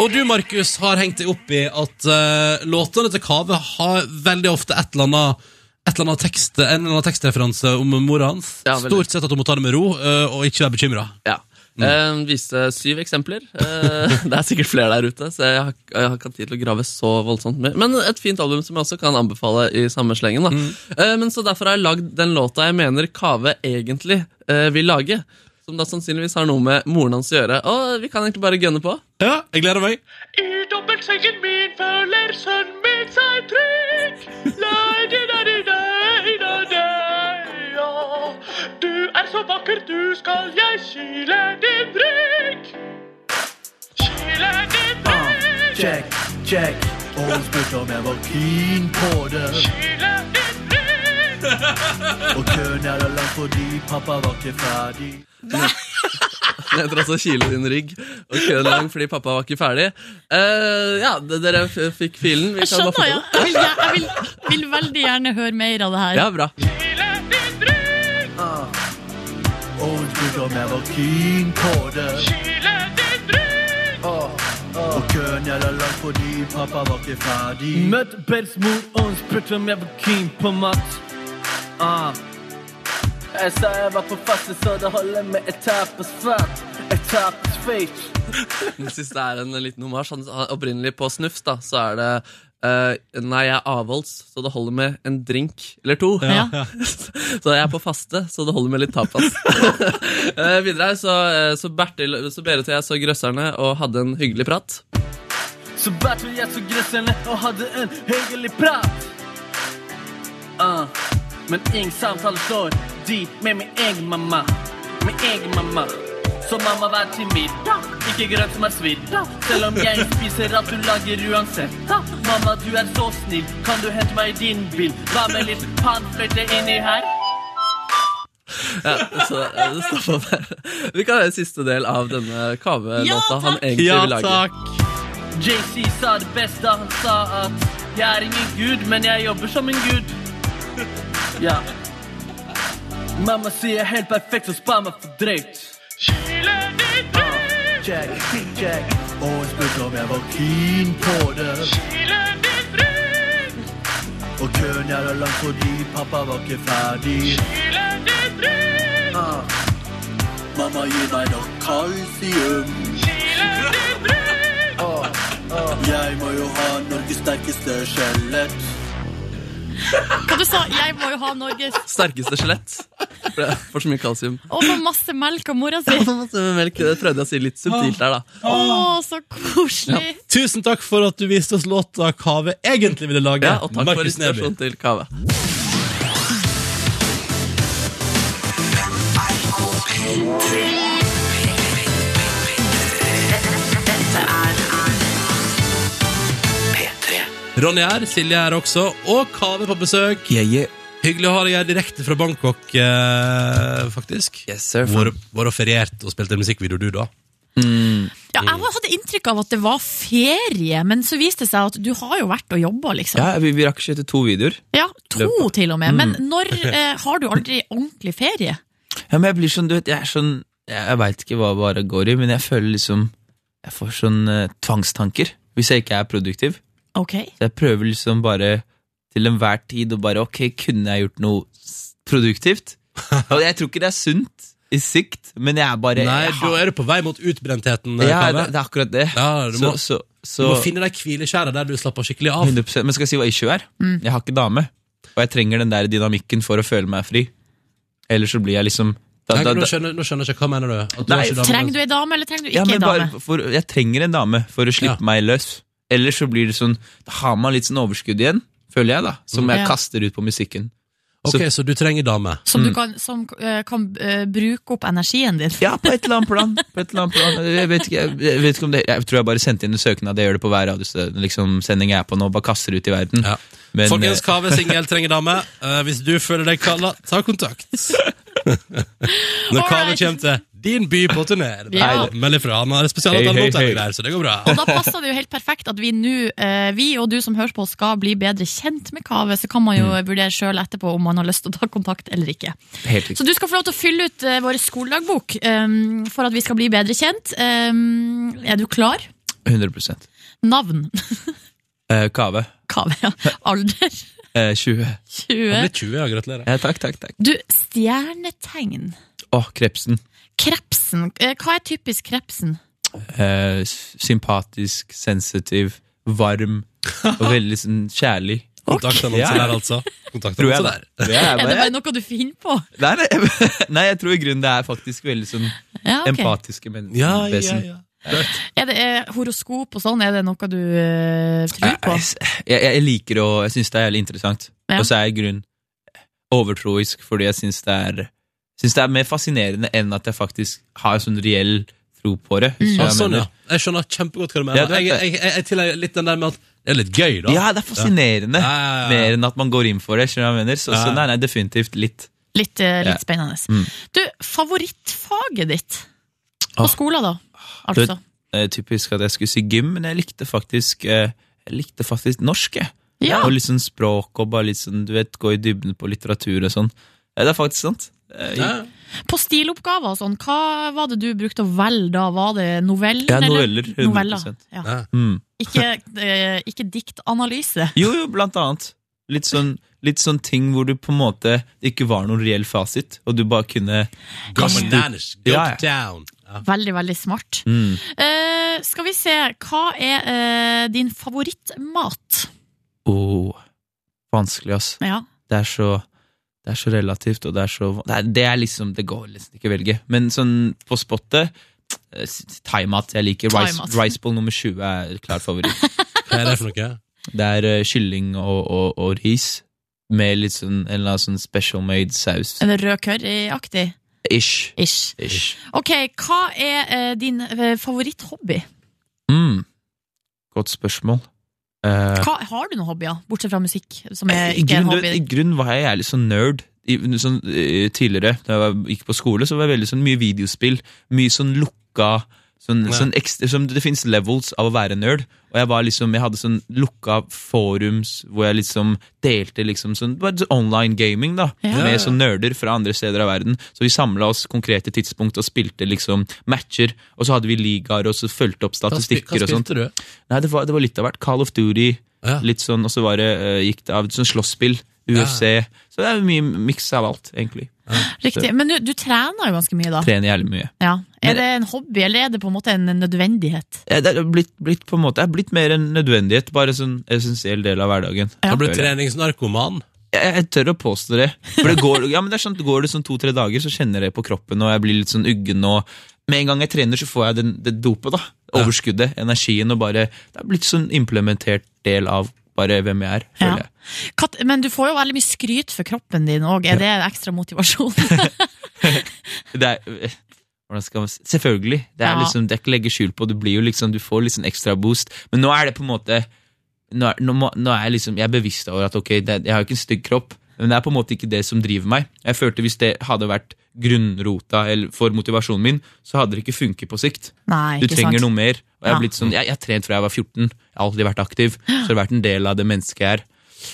Speaker 1: Og du, Markus, har hengt deg opp i at eh, låtene til Kave har veldig ofte et eller annet et eller annet tekst, en eller annen tekstreferanse om mora hans.
Speaker 3: Ja, veldig.
Speaker 1: Stort sett at hun må ta det med ro eh, og ikke være bekymra.
Speaker 3: Ja. Eh, viste syv eksempler. Eh, (laughs) det er sikkert flere der ute, så jeg har, jeg har ikke hatt tid til å grave så voldsomt. Med. Men et fint album som jeg også kan anbefale i samme slengen. Da. Eh, men så Derfor har jeg lagd den låta jeg mener Kave egentlig eh, vil lage. Som da sannsynligvis har noe med moren hans å gjøre. Og vi kan egentlig bare gønne på.
Speaker 1: Ja, jeg gleder meg.
Speaker 9: I dobbeltsengen min føler sønnen min seg trygg. Lai-di-da-di-da-di-da-di-da. Du er så vakker, du skal jeg kile din rygg. Kile din rygg,
Speaker 6: Ah, Check, check. Og hun spurte om jeg var keen på det.
Speaker 9: kile din rygg.
Speaker 6: Og køen er lang fordi pappa var ikke ferdig.
Speaker 3: (laughs) Den heter altså Kile din rygg og køen lang fordi pappa var ikke ferdig. Eh, ja, d- dere f fikk filen. Vi
Speaker 4: Jeg
Speaker 3: kan bare
Speaker 4: skjønner, ja.
Speaker 3: fortsette.
Speaker 4: Jeg vil, jeg vil, vil veldig gjerne høre mer av det her.
Speaker 3: Ja, bra.
Speaker 9: Kile din rygg,
Speaker 6: Og hun spurte Oh, om jeg var keen på det. Ah,
Speaker 9: kile din rygg.
Speaker 6: Og køen er lang fordi pappa var ikke ferdig.
Speaker 10: Møtte Bells mor, og hun spurte om jeg var keen på mat. Ah. Jeg sa jeg var på faste, så det holder med et tapasfat. Et tapasfate.
Speaker 3: (laughs) Den siste er en liten homasj. Han, han, opprinnelig på Snufs da, så er det eh, Nei, jeg er avholds, så det holder med en drink eller to.
Speaker 4: Ja.
Speaker 3: (laughs) så jeg er på faste, så det holder med litt tapas. (laughs) Eh, videre her så, eh, så Bertil, så Berit og jeg så Grøsserne og hadde en hyggelig prat.
Speaker 10: Så bærte jeg så gressene og hadde en hyggelig prat. Ah. Men ingen samtale står de med min egen mamma. Min egen mamma. Så mamma var til middag, ikke grøt som er svidd. Selv om jeg spiser alt hun lager uansett. Mamma, du er så snill, kan du hente meg i din bil? Hva med litt panfløyte inni her?
Speaker 3: Ja, så eh, det stoppa der. Vi kan høre siste del av denne kavelåta
Speaker 4: Ja,
Speaker 3: han
Speaker 4: takk!
Speaker 3: egentlig vil lage.
Speaker 10: JC sa det best da han sa at Jeg er ingen gud, men jeg jobber som en gud. (laughs) Ja. Mamma sier jeg er helt perfekt, så spar meg for drøyt.
Speaker 9: Kile din rygg,
Speaker 6: Check, check. Og hun spurte om jeg var keen på det.
Speaker 9: kile din rygg,
Speaker 6: Og køen er lang fordi pappa var ikke ferdig.
Speaker 9: kile din rygg.
Speaker 10: Ah.
Speaker 6: Mamma gir meg nok kalsium.
Speaker 9: Kile din rygg,
Speaker 6: Jeg må jo ha Norges sterkeste skjelett.
Speaker 4: Hva du sa? Jeg må jo ha Norges
Speaker 3: Sterkeste skjelett. For det får så mye kalsium.
Speaker 4: Og få masse melk av mora si!
Speaker 3: Melk, det prøvde jeg å si litt subtilt der, da.
Speaker 4: Å, så koselig!
Speaker 1: Tusen takk for at du viste oss låta Kave egentlig ville lage.
Speaker 3: Ja, og takk for
Speaker 1: Markus Neby.
Speaker 3: inspirasjonen til Kave.
Speaker 1: Ronny er, Silje er også, og Kave på besøk. Hyggelig å ha deg her direkte fra Bangkok, eh, faktisk.
Speaker 3: Yes, sir.
Speaker 1: Vår, vår feriert og spilte en musikkvideo, du, da.
Speaker 4: Ja, jeg var- hadde inntrykk av at det var ferie, men så viste det seg at du har jo vært og jobba, liksom.
Speaker 11: Ja, vi, vi rakk ikke etter to videoer.
Speaker 4: Ja, to til og med. Men når eh, har du aldri ordentlig ferie?
Speaker 11: Ja, men jeg blir sånn, du vet, jeg er sånn Jeg, jeg veit ikke hva bare går i, men jeg føler liksom Jeg får sånn eh, tvangstanker hvis jeg ikke er produktiv.
Speaker 4: Ok.
Speaker 11: Så jeg prøver liksom bare til enhver tid å bare Ok, kunne jeg gjort noe s-
Speaker 1: (laughs)
Speaker 11: produktivt? Og jeg tror ikke det er sunt i sikt, men jeg er bare
Speaker 1: Nei,
Speaker 11: jeg
Speaker 1: da
Speaker 11: har-
Speaker 1: er du på vei mot utbrentheten, eh,
Speaker 11: ja, det,
Speaker 1: Kave.
Speaker 11: det er akkurat det.
Speaker 1: Ja, du må-
Speaker 11: så, så,
Speaker 1: Du
Speaker 11: så
Speaker 1: må finne deg hvileskjæret der du slapper skikkelig av.
Speaker 11: 100%, Men skal jeg si hva issue er?
Speaker 4: Mm.
Speaker 11: Jeg har ikke dame, og jeg trenger den der dynamikken for å føle meg fri. Ellers så blir jeg liksom da,
Speaker 1: Nei,
Speaker 11: da,
Speaker 1: nå,
Speaker 11: da,
Speaker 1: skjønner, nå skjønner jeg ikke hva mener du At du
Speaker 11: Nei,
Speaker 1: har ikke dame- altså.
Speaker 4: Trenger du ei dame, eller trenger du
Speaker 11: ja,
Speaker 4: ikke ei
Speaker 11: men
Speaker 4: dame?
Speaker 11: bare for, Jeg trenger en dame for å slippe
Speaker 1: Ja.
Speaker 11: meg løs. Ellers så blir det sånn Da har man litt sånn overskudd igjen, føler jeg, da. Som
Speaker 1: Mm.
Speaker 11: jeg
Speaker 4: Ja.
Speaker 11: kaster ut på musikken.
Speaker 1: Ok, så du trenger dame.
Speaker 4: Som
Speaker 11: Mm.
Speaker 4: du kan, som, eh, kan eh, bruke opp energien din?
Speaker 11: Ja, på et eller annet plan. På et eller annet plan. Jeg, vet ikke, jeg, jeg vet ikke om det Jeg tror jeg bare sendte inn en søknad. Jeg gjør det på hver radiosending liksom, sending jeg er på nå. Bare kaster ut i verden.
Speaker 1: Ja.
Speaker 11: Men,
Speaker 1: Folkens,
Speaker 11: eh,
Speaker 1: Kave singel trenger dame. Eh, hvis du føler deg kalla,
Speaker 11: (laughs)
Speaker 1: ta kontakt. Når Kave
Speaker 4: Alright.
Speaker 1: kommer til din by på turné, er det bare
Speaker 4: Ja.
Speaker 1: å melde fra. Han har et spesialavtale
Speaker 11: Hei, hei,
Speaker 1: mot deg
Speaker 11: hei.
Speaker 1: der, så det går bra.
Speaker 4: Og da passer det jo helt perfekt at vi nå, eh, vi og du som hører på, skal bli bedre kjent med Kave. Så kan man jo vurdere sjøl etterpå om man har lyst til å ta kontakt eller ikke.
Speaker 11: eh, helt Mm. riktig.
Speaker 4: Så du skal få lov til å fylle ut eh, vår skoledagbok eh, for at vi skal bli bedre kjent. Eh, er du klar?
Speaker 11: 100
Speaker 4: Navn. (laughs)
Speaker 11: Eh, Kave.
Speaker 4: Kave.
Speaker 11: (laughs)
Speaker 4: ja. Alder.
Speaker 11: Eh, 20.
Speaker 4: 20.
Speaker 1: Han blir 20, ja. Gratulerer.
Speaker 11: Ja, takk, takk, takk.
Speaker 4: Du, stjernetegn.
Speaker 11: Å, krepsen.
Speaker 4: Krepsen. Eh, Hva er typisk krepsen?
Speaker 11: Eh, s- sympatisk, sensitiv, varm og veldig sånn
Speaker 1: (laughs)
Speaker 11: kjærlig.
Speaker 1: Kontaktannonse
Speaker 11: Ja.
Speaker 1: der, altså.
Speaker 11: Tror jeg
Speaker 1: Kontaktannonse
Speaker 11: det.
Speaker 1: der.
Speaker 11: Det er
Speaker 4: Er det
Speaker 11: bare-
Speaker 4: bare noe du finner på?
Speaker 11: Nei, nei, nei, jeg (laughs) tror i grunnen det er faktisk veldig sånn
Speaker 4: Ja, ok.
Speaker 11: empatiske mennesker.
Speaker 1: Ja, ja,
Speaker 11: vesen.
Speaker 1: ja.
Speaker 4: Er det er horoskop og sånn, er det noe du eh, tror på?
Speaker 11: Jeg, jeg liker å Jeg syns det er jævlig interessant.
Speaker 4: Ja.
Speaker 11: Og så er jeg i grunnen overtroisk, fordi jeg syns det er Synes det er mer fascinerende enn at jeg faktisk har sånn reell tro på det.
Speaker 4: Mm.
Speaker 11: hvis du
Speaker 1: Ja,
Speaker 11: hva jeg
Speaker 1: sånn, ja.
Speaker 11: mener.
Speaker 1: Jeg skjønner kjempegodt hva
Speaker 11: Ja,
Speaker 1: du mener.
Speaker 11: du vet
Speaker 1: Jeg,
Speaker 11: det.
Speaker 1: jeg, jeg, jeg tillegger litt den der med at det er litt gøy, da.
Speaker 11: Ja, det er fascinerende.
Speaker 1: ja, ja.
Speaker 11: (laughs) Mer enn at man går inn for det. skjønner du hva jeg mener? Så,
Speaker 1: Ja.
Speaker 11: så nei, nei, definitivt litt.
Speaker 4: Litt, eh,
Speaker 11: Ja.
Speaker 4: litt spennende.
Speaker 11: Mm.
Speaker 4: Du, favorittfaget ditt
Speaker 11: Ah.
Speaker 4: på skolen, da? Altså.
Speaker 11: Det er eh, typisk at jeg skulle si gym, men jeg likte faktisk, eh, jeg likte faktisk norsk. Jeg.
Speaker 4: Ja.
Speaker 11: Og litt sånn språk og bare litt sånn, du vet, gå i dybden på litteratur og sånn. Eh, Det er faktisk sant. Eh,
Speaker 4: På stiloppgaver og sånn, hva var det du brukte å velge da? Var det novellen?
Speaker 11: Ja,
Speaker 4: eller-
Speaker 11: noveller,
Speaker 4: Noveller,
Speaker 11: 100%.
Speaker 4: ja.
Speaker 11: Mm.
Speaker 4: Ikke, eh, ikke diktanalyse.
Speaker 11: Jo, jo, blant annet. Litt sånn, litt sånn ting hvor du på en måte det ikke var noen reell fasit, og du bare kunne
Speaker 1: Go bananas, go
Speaker 11: Ja, ja.
Speaker 1: to town.
Speaker 4: Veldig, veldig smart.
Speaker 11: Mm.
Speaker 4: Eh, skal vi se, hva er eh, din favorittmat?
Speaker 11: Åh, oh, vanskelig, ass.
Speaker 4: Ja.
Speaker 11: Det er så det er så relativt, og det er så Det er, det er liksom Det går liksom ikke å velge. Men sånn på spottet eh, s- Thaimat jeg liker. Rice,
Speaker 1: Thaimat.
Speaker 11: rice bowl nummer 20 er klar favoritt.
Speaker 1: Hva er det for noe?
Speaker 11: Det er eh, kylling og, og, og ris med litt sånn en eller annen sånn special made saus.
Speaker 4: Er det rød curryaktig?
Speaker 11: Ish.
Speaker 4: Ish.
Speaker 11: Ish.
Speaker 4: Ok, hva er eh, din eh, favoritthobby?
Speaker 11: Mm. Godt spørsmål. Eh,
Speaker 4: Hva, har du noen hobbyer, bortsett fra musikk, som er
Speaker 11: I
Speaker 4: ikke en
Speaker 11: grunnen, du vet,
Speaker 4: hobby?
Speaker 11: I grunnen var jeg jævlig sånn nerd. I, sånn, eh, tidligere, da jeg var- gikk på skole, så var jeg veldig sånn mye videospill. Mye sånn lukka sånn,
Speaker 1: Ja.
Speaker 11: sånn ekstra, som Det finnes levels av å være nerd. Og jeg var liksom, jeg hadde sånn lukka forums hvor jeg liksom delte liksom sånn, bare sånn online gaming da,
Speaker 1: Ja.
Speaker 11: med sånn nerder fra andre steder av verden. Så vi samla oss konkrete tidspunkt og spilte liksom matcher. Og så hadde vi ligaer og så fulgte opp
Speaker 1: Hva spi-
Speaker 11: statistikker.
Speaker 1: hva
Speaker 11: og sånt.
Speaker 1: spilte du?
Speaker 11: Nei, det var, det var litt av hvert. Call of Duty, litt sånn, og så var det, eh, gikk det av sånn slåsspill, UFC. Så det er mye miks av alt, egentlig.
Speaker 4: Riktig. Men du, du trener jo ganske mye, da.
Speaker 11: Så, trener jævlig mye.
Speaker 4: Ja. Er det en hobby, eller er det på en måte en nødvendighet?
Speaker 11: Eh, Det er blitt, blitt på en måte, det er blitt mer en nødvendighet, bare sånn essensiell del av hverdagen.
Speaker 1: Har du blitt treningsnarkoman?
Speaker 11: Jeg, jeg tør å påstå det. For det går, (laughs) ja, men det er sånn, at går det sånn to-tre dager, så kjenner jeg det på kroppen, og jeg blir litt sånn uggen, og med en gang jeg trener, så får jeg den, det dopet, da. Overskuddet, energien, og bare Det er blitt sånn implementert del av bare hvem jeg er, føler jeg.
Speaker 4: Kat- Men du får jo veldig mye skryt for kroppen din òg, er det ekstra motivasjon? (laughs)
Speaker 11: det er, eh, hvordan skal man si? Selvfølgelig. Det er
Speaker 4: Ja.
Speaker 11: liksom, det er ikke å legge skjul på. Du, blir jo liksom, du får litt sånn ekstra boost. Men nå er det på en måte Nå er, nå må, nå er jeg liksom Jeg er bevisst over at ok, det, jeg har jo ikke en stygg kropp, men det er på en måte ikke det som driver meg. Jeg følte Hvis det hadde vært grunnrota eller for motivasjonen min, så hadde det ikke funket på sikt.
Speaker 4: Nei,
Speaker 11: Du
Speaker 4: ikke
Speaker 11: trenger
Speaker 4: sant.
Speaker 11: noe mer. Og jeg,
Speaker 4: Ja.
Speaker 11: har blitt sånn, jeg, jeg har trent fra jeg var 14, jeg har alltid vært aktiv. Så det har vært en del av det mennesket jeg er.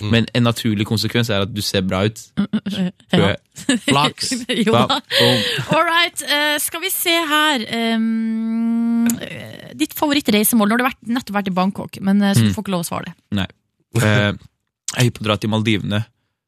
Speaker 11: Men en naturlig konsekvens er at du ser bra ut.
Speaker 4: Mm,
Speaker 11: Tror jeg.
Speaker 4: Flaks. (laughs) jo da.
Speaker 11: Ba- boom.
Speaker 4: All right, eh, skal vi se her um, eh, Ditt favorittreisemål? Nå har du vært, nettopp vært i Bangkok, men eh, så du
Speaker 11: Mm.
Speaker 4: får ikke lov å svare det.
Speaker 11: Nei. Eh, jeg er hypp på å dra til Maldivene.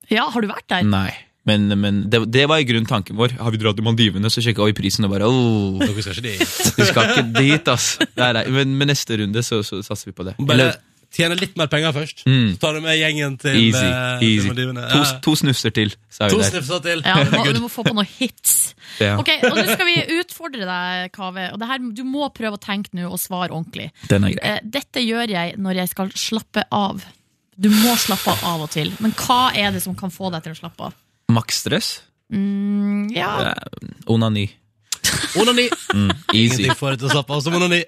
Speaker 4: Ja, har du vært der?
Speaker 11: Nei. Men, men det, det var i grunnen tanken vår. Har vi dratt til Maldivene, så sjekka vi prisen og bare åh,
Speaker 1: Dere skal ikke dit.
Speaker 11: Vi skal ikke dit, ass. Nei, nei. Men med neste runde så, så satser vi på det.
Speaker 1: Bare
Speaker 11: Eller-
Speaker 1: tjene litt mer penger først.
Speaker 11: Mm.
Speaker 1: Så tar du med gjengen til
Speaker 11: easy.
Speaker 1: eh, til
Speaker 11: easy.
Speaker 1: Maldivene.
Speaker 11: To,
Speaker 1: Ja.
Speaker 11: to snufser til, sa vi
Speaker 1: To
Speaker 11: der.
Speaker 1: snufser til.
Speaker 4: Ja,
Speaker 11: (laughs)
Speaker 4: du, må,
Speaker 11: Good.
Speaker 4: du må få på noen hits.
Speaker 11: Ja.
Speaker 4: Ok, og Nå skal vi utfordre deg, Kaveh. Og det her, du må prøve å tenke nå og svare ordentlig.
Speaker 11: Den er grei.
Speaker 4: Eh, Dette gjør jeg når jeg skal slappe av. Du må slappe av av og til, men hva er det som kan få deg til å slappe av?
Speaker 11: Maksstress?
Speaker 4: Mm, ja.
Speaker 11: Eh, Onani.
Speaker 1: Onani.
Speaker 11: Mm, easy.
Speaker 1: Ingenting får deg til å slappe av som onani.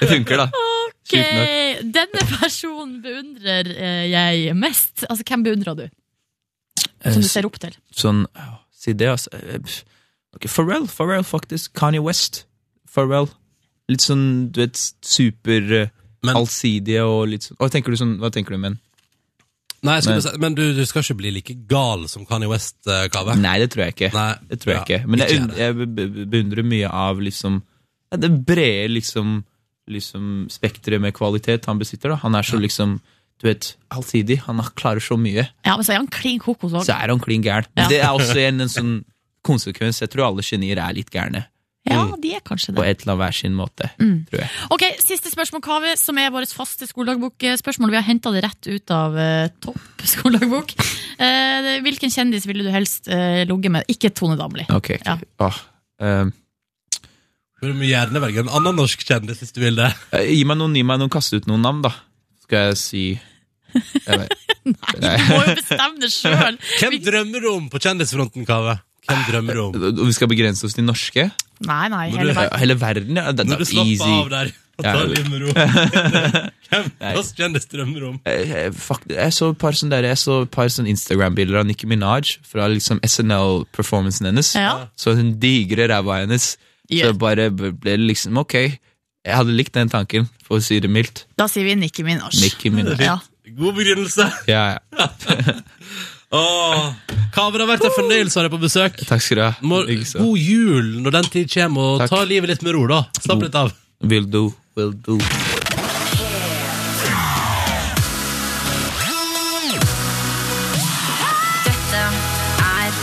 Speaker 11: Det funker, da.
Speaker 4: Ok,
Speaker 11: Sykt nok.
Speaker 4: Denne personen beundrer eh, jeg mest. Altså, hvem beundrer du?
Speaker 11: Eh,
Speaker 4: Som du
Speaker 11: s-
Speaker 4: ser opp til.
Speaker 11: Sånn, åh, si det, altså. Eh, pff. Ok, Pharrell, Pharrell faktisk. Kanye West. Pharrell. Litt sånn, du vet, super eh, allsidige og litt sånn. Åh, tenker du sånn, hva tenker du, men?
Speaker 1: Nei, jeg skulle
Speaker 11: Men-
Speaker 1: si, men du, du skal ikke bli like gal som Kanye West-kave.
Speaker 11: Nei, det tror jeg ikke.
Speaker 1: Nei,
Speaker 11: Det tror jeg
Speaker 1: ja,
Speaker 11: ikke. Men jeg,
Speaker 1: ikke
Speaker 11: und- jeg be- be- be- beundrer mye av liksom, ja, det brede liksom, liksom spektret med kvalitet han besitter. Da. Han er så liksom du vet, allsidig. Han har- klarer så mye.
Speaker 4: Ja, men så er han klin kokos òg.
Speaker 11: Så er han klin gæren. Men
Speaker 4: Ja.
Speaker 11: Det er også en, en sånn konsekvens. Jeg tror alle genier er litt gærne.
Speaker 4: Ja, de er kanskje
Speaker 11: På
Speaker 4: det.
Speaker 11: et eller annet hver sin måte,
Speaker 4: Mm.
Speaker 11: tror jeg.
Speaker 4: Ok, Siste spørsmål, Kaveh, som er vårt faste skoledagbokspørsmål. Vi har henta det rett ut av eh, topp skoledagbok. Eh, hvilken kjendis ville du helst eh, ligget med? Ikke Tone Damli.
Speaker 11: Ok,
Speaker 4: Ja.
Speaker 3: Ah,
Speaker 11: Åh, ehm,
Speaker 1: Du må gjerne velge en annen norsk kjendis hvis du vil det.
Speaker 11: eh, gi meg noen, gi meg noen, kast ut noen navn, da. Skal jeg si jeg vet.
Speaker 4: Nei, du må jo bestemme det sjøl!
Speaker 1: Hvem drømmer du om på kjendisfronten, Kave? Hvem drømmer du
Speaker 11: (laughs)
Speaker 1: om?
Speaker 11: Vi skal begrense oss til norske?
Speaker 4: Nei, nei,
Speaker 11: Når
Speaker 4: hele
Speaker 11: du-
Speaker 4: verden.
Speaker 11: hele verden, ja. Det,
Speaker 1: Når
Speaker 11: det,
Speaker 1: du slapper
Speaker 11: easy.
Speaker 1: av der og tar
Speaker 11: Ja.
Speaker 1: livet med
Speaker 11: (laughs)
Speaker 1: ro. Hvem
Speaker 11: Nei.
Speaker 1: norsk kjendis drømmer du om?
Speaker 11: Eh, eh, fuck, jeg så et par sånne, der- jeg så et par sånne Instagram-bilder av Nicki Minaj fra liksom SNL-performancen hennes.
Speaker 4: Ja.
Speaker 11: Så den digre ræva hennes. Så
Speaker 4: Yeah.
Speaker 11: jeg bare b- ble liksom ok. Jeg hadde likt den tanken, for å si det mildt.
Speaker 4: Da sier vi Nikki Minaj. (laughs)
Speaker 11: Nicki Minaj.
Speaker 4: Ja.
Speaker 1: God begrunnelse.
Speaker 11: Ja, ja.
Speaker 1: Åh, Kave, det har vært en fornøyelse å ha deg på besøk.
Speaker 11: Takk skal du ha.
Speaker 1: Må,
Speaker 11: Liksom.
Speaker 1: god jul når den tid kommer, og ta livet litt med ro, da. Slapp litt av.
Speaker 11: Will do, will do.
Speaker 2: Dette er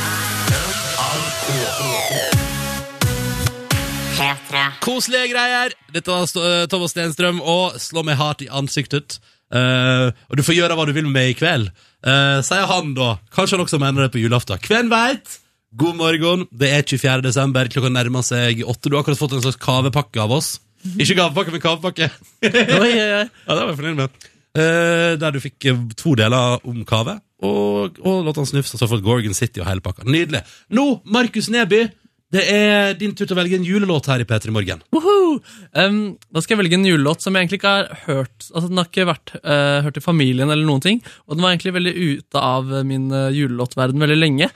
Speaker 2: P3.
Speaker 1: Koselige greier. Dette var St- eh, Thomas Stenstrøm og Slå meg hardt i ansiktet. Eh, og du får gjøre hva du vil med meg i kveld, eh, sier han da. Kanskje han også mener det på julaften. Hvem veit? God morgen. Det er 24. desember. Klokka nærmer seg åtte. Du har akkurat fått en slags kavepakke av oss. Ikke gavepakke, men kavepakke.
Speaker 3: Mhm. Oi, oi, oi.
Speaker 1: Ja, det var jeg fornøyd med. Eh, der du fikk eh, to deler om kave, og, og låtene Snufs, og så har du fått Gorgon City og hele pakka. Nydelig. Nå, Markus Neby, det er din tur til å velge en julelåt her i P3 Morgen.
Speaker 3: Woohoo! Um, da skal jeg velge en julelåt som jeg egentlig ikke har hørt Altså Den har ikke vært eh, hørt i familien, eller noen ting og den var egentlig veldig ute av eh, min eh, julelåtverden veldig lenge.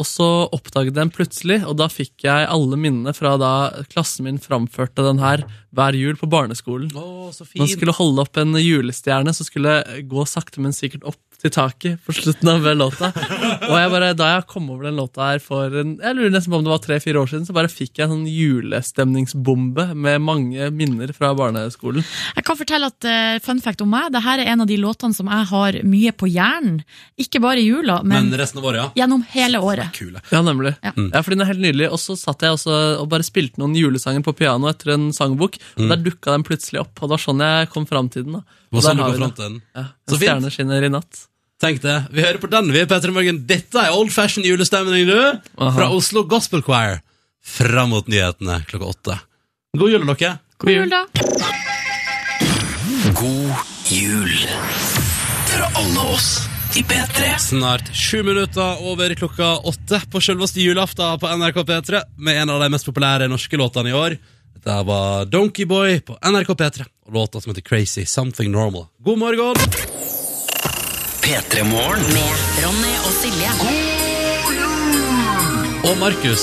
Speaker 3: Og så oppdaget jeg den plutselig, og da fikk jeg alle minnene fra da klassen min framførte den her hver jul på barneskolen.
Speaker 1: Å, så
Speaker 3: Man skulle holde opp en julestjerne som skulle gå sakte, men sikkert opp til taket på slutten av låta. Og jeg bare, da jeg kom over den låta her for en, jeg lurer nesten på om det var tre-fire år siden, så bare fikk jeg en sånn julestemningsbombe med mange minner fra barneskolen.
Speaker 4: Jeg kan fortelle at eh, fun fact om meg, det her er en av de låtene som jeg har mye på hjernen. Ikke bare i jula, men,
Speaker 1: Men resten av året, ja.
Speaker 4: gjennom hele året.
Speaker 3: Ja, nemlig.
Speaker 4: Ja.
Speaker 3: Ja.
Speaker 1: Mm.
Speaker 3: for den er helt nydelig. Og så satt jeg også og bare spilte noen julesanger på piano etter en sangbok, og
Speaker 1: Mm.
Speaker 3: der dukka den plutselig opp, og det var sånn jeg kom fram til den. da.
Speaker 1: Det var
Speaker 3: Og der
Speaker 1: sånn du
Speaker 3: har
Speaker 1: kom
Speaker 3: vi
Speaker 1: fram
Speaker 3: den.
Speaker 1: til den.
Speaker 3: Ja,
Speaker 1: Så
Speaker 3: en
Speaker 1: fint.
Speaker 3: stjerne skinner i natt.
Speaker 1: Tenk det. Vi hører på den, vi, Petter Morgen. Dette er old fashion julestemning, du! Fra Oslo Gospel Choir. Fram mot nyhetene klokka åtte. God jul, dere.
Speaker 4: God jul, da.
Speaker 6: God jul til alle oss i P3.
Speaker 1: Snart sju minutter over klokka åtte på selveste julaften på NRK P3 med en av de mest populære norske låtene i år. Dette var Donkey Boy på NRK P3 og låta som heter Crazy Something Normal. God morgen!
Speaker 6: P3 Morgen.
Speaker 2: Med Ronny og Silje.
Speaker 1: Og Markus,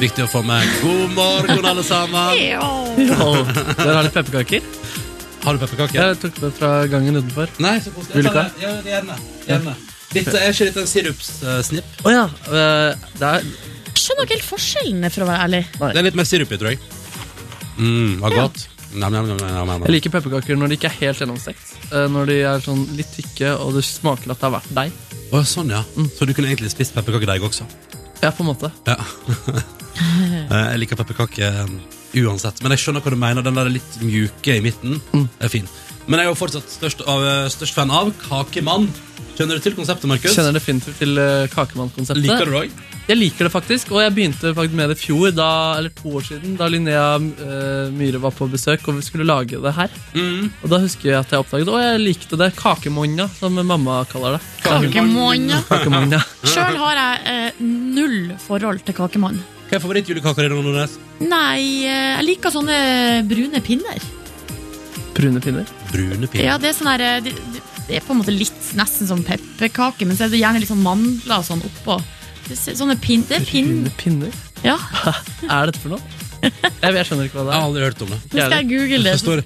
Speaker 1: viktig å få med. God morgen, alle sammen!
Speaker 3: Oh, der har de pepperkaker.
Speaker 1: Har du pepperkaker?
Speaker 3: Jeg tok det fra gangen utenfor.
Speaker 1: Nei, så
Speaker 3: Eh, Vil
Speaker 1: koselig.
Speaker 3: du
Speaker 1: Jeg tar
Speaker 3: ikke
Speaker 1: det. Ja, gjerne. gjerne. Dette er ikke dette en sirupssnipp?
Speaker 3: Å ja. eh, Det er
Speaker 4: Skjønner dere helt forskjellene, for å være ærlig.
Speaker 1: Det er litt mer sirup i, tror jeg. Mm, var godt. Nam, nam, nam, nam, nam,
Speaker 3: Jeg
Speaker 1: nam.
Speaker 3: liker pepperkaker når de ikke er helt gjennomstekt. Eh, Når de er sånn litt tykke, og det smaker at det har vært deig.
Speaker 1: Å, sånn, ja.
Speaker 3: Mm.
Speaker 1: Så du kunne egentlig spist pepperkakedeig også?
Speaker 3: Ja, på en måte.
Speaker 1: Ja. Eh, jeg liker pepperkake um, uansett. Men jeg skjønner hva du mener. Den der litt mjuke i midten er fin. Men jeg er jo fortsatt størst, av, eh, størst fan av Kakemann. Kjenner du til konseptet, Markus?
Speaker 3: Kjenner definitivt til eh, kakemannkonseptet.
Speaker 1: Liker du det òg?
Speaker 3: Jeg liker det faktisk, og jeg begynte faktisk med det i fjor, da, eller to år siden, da Linnea eh, Myhre var på besøk og vi skulle lage det her.
Speaker 1: Mm.
Speaker 3: Og da husker jeg at jeg oppdaget Å, jeg likte det. Kakemonna, som mamma kaller det.
Speaker 4: Kakemann.
Speaker 3: Kakemonna.
Speaker 4: Sjøl har jeg eh, null forhold til kakemann.
Speaker 1: Hva er favorittjulekaka di, Nordnes?
Speaker 4: Nei, eh, jeg liker sånne brune pinner.
Speaker 3: Brune pinner.
Speaker 1: Brune
Speaker 4: Ja,
Speaker 1: pinner.
Speaker 4: det er sånn her, eh, det, det- det er på en måte litt nesten som pepperkake, men så er det gjerne litt sånn mandler og sånn oppå. Det er Sånne pin, det er pin,
Speaker 3: Brune pinner? (laughs)
Speaker 4: ja.
Speaker 3: Er dette for noe? Jeg, jeg skjønner ikke hva det
Speaker 1: Jeg har
Speaker 3: er.
Speaker 1: aldri hørt om det.
Speaker 4: Nå skal jeg google
Speaker 1: Det
Speaker 4: det.
Speaker 1: står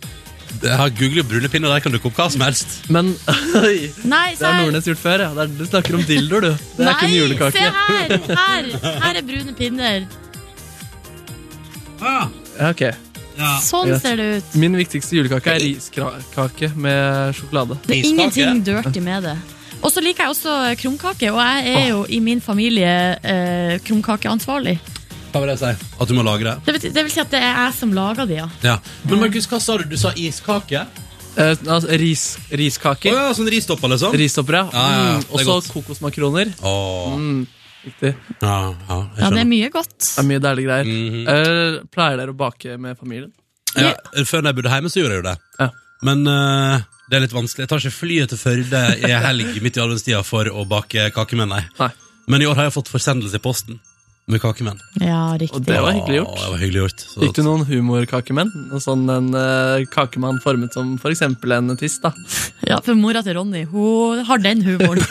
Speaker 1: Jeg har googlet brune pinner, der kan dukke opp hva som helst.
Speaker 3: Men (laughs) oi,
Speaker 4: Nei,
Speaker 3: det har
Speaker 4: se her.
Speaker 3: Nordnes gjort før. Ja. Det er, du snakker om dildoer, du. Det er ikke
Speaker 4: Nei,
Speaker 3: en
Speaker 4: se
Speaker 3: julekake.
Speaker 4: her! Her, her er brune pinner.
Speaker 1: Ah,
Speaker 3: Ja, ok.
Speaker 9: Sånn ser det ut.
Speaker 3: Min viktigste julekake er riskake med sjokolade.
Speaker 9: Det er ingenting dirty med det. Og så liker jeg også krumkake, og jeg er jo i min familie eh, krumkakeansvarlig.
Speaker 1: Hva vil det si? At du må lage det?
Speaker 9: Det, bety- det vil si at det er jeg som lager de, ja.
Speaker 1: Ja. Men Markus, hva sa du? Du sa iskake?
Speaker 3: altså, ris, riskaker.
Speaker 1: Å ja, sånn ristopper, liksom?
Speaker 3: Ristopper, ja.
Speaker 1: Ja, ja,
Speaker 3: Mm,
Speaker 1: det
Speaker 3: Og
Speaker 1: er godt.
Speaker 3: så kokosmakroner.
Speaker 1: Åh.
Speaker 3: Mm, riktig.
Speaker 1: Ja, ja, jeg
Speaker 9: Ja, det
Speaker 1: skjønner.
Speaker 9: er mye godt.
Speaker 3: Det er mye deilige greier. Eh, pleier dere å bake med familien?
Speaker 1: Ja, før når jeg bodde hjemme, så gjorde jeg jo det. Men eh, det er litt vanskelig. Jeg tar ikke flyet til Førde i helg midt i adventstida for å bake kakemenn, nei. Men i år har jeg fått forsendelse i posten med kakemenn.
Speaker 9: Ja, riktig.
Speaker 3: Og det var hyggelig
Speaker 1: Åh,
Speaker 3: gjort.
Speaker 1: det var hyggelig gjort. Så
Speaker 3: Fikk du noen humorkakemenn? Og sånn en eh, kakemann formet som for eksempel en tiss, (laughs) da.
Speaker 9: Ja, for mora til Ronny, hun har den
Speaker 3: (laughs)
Speaker 9: humoren.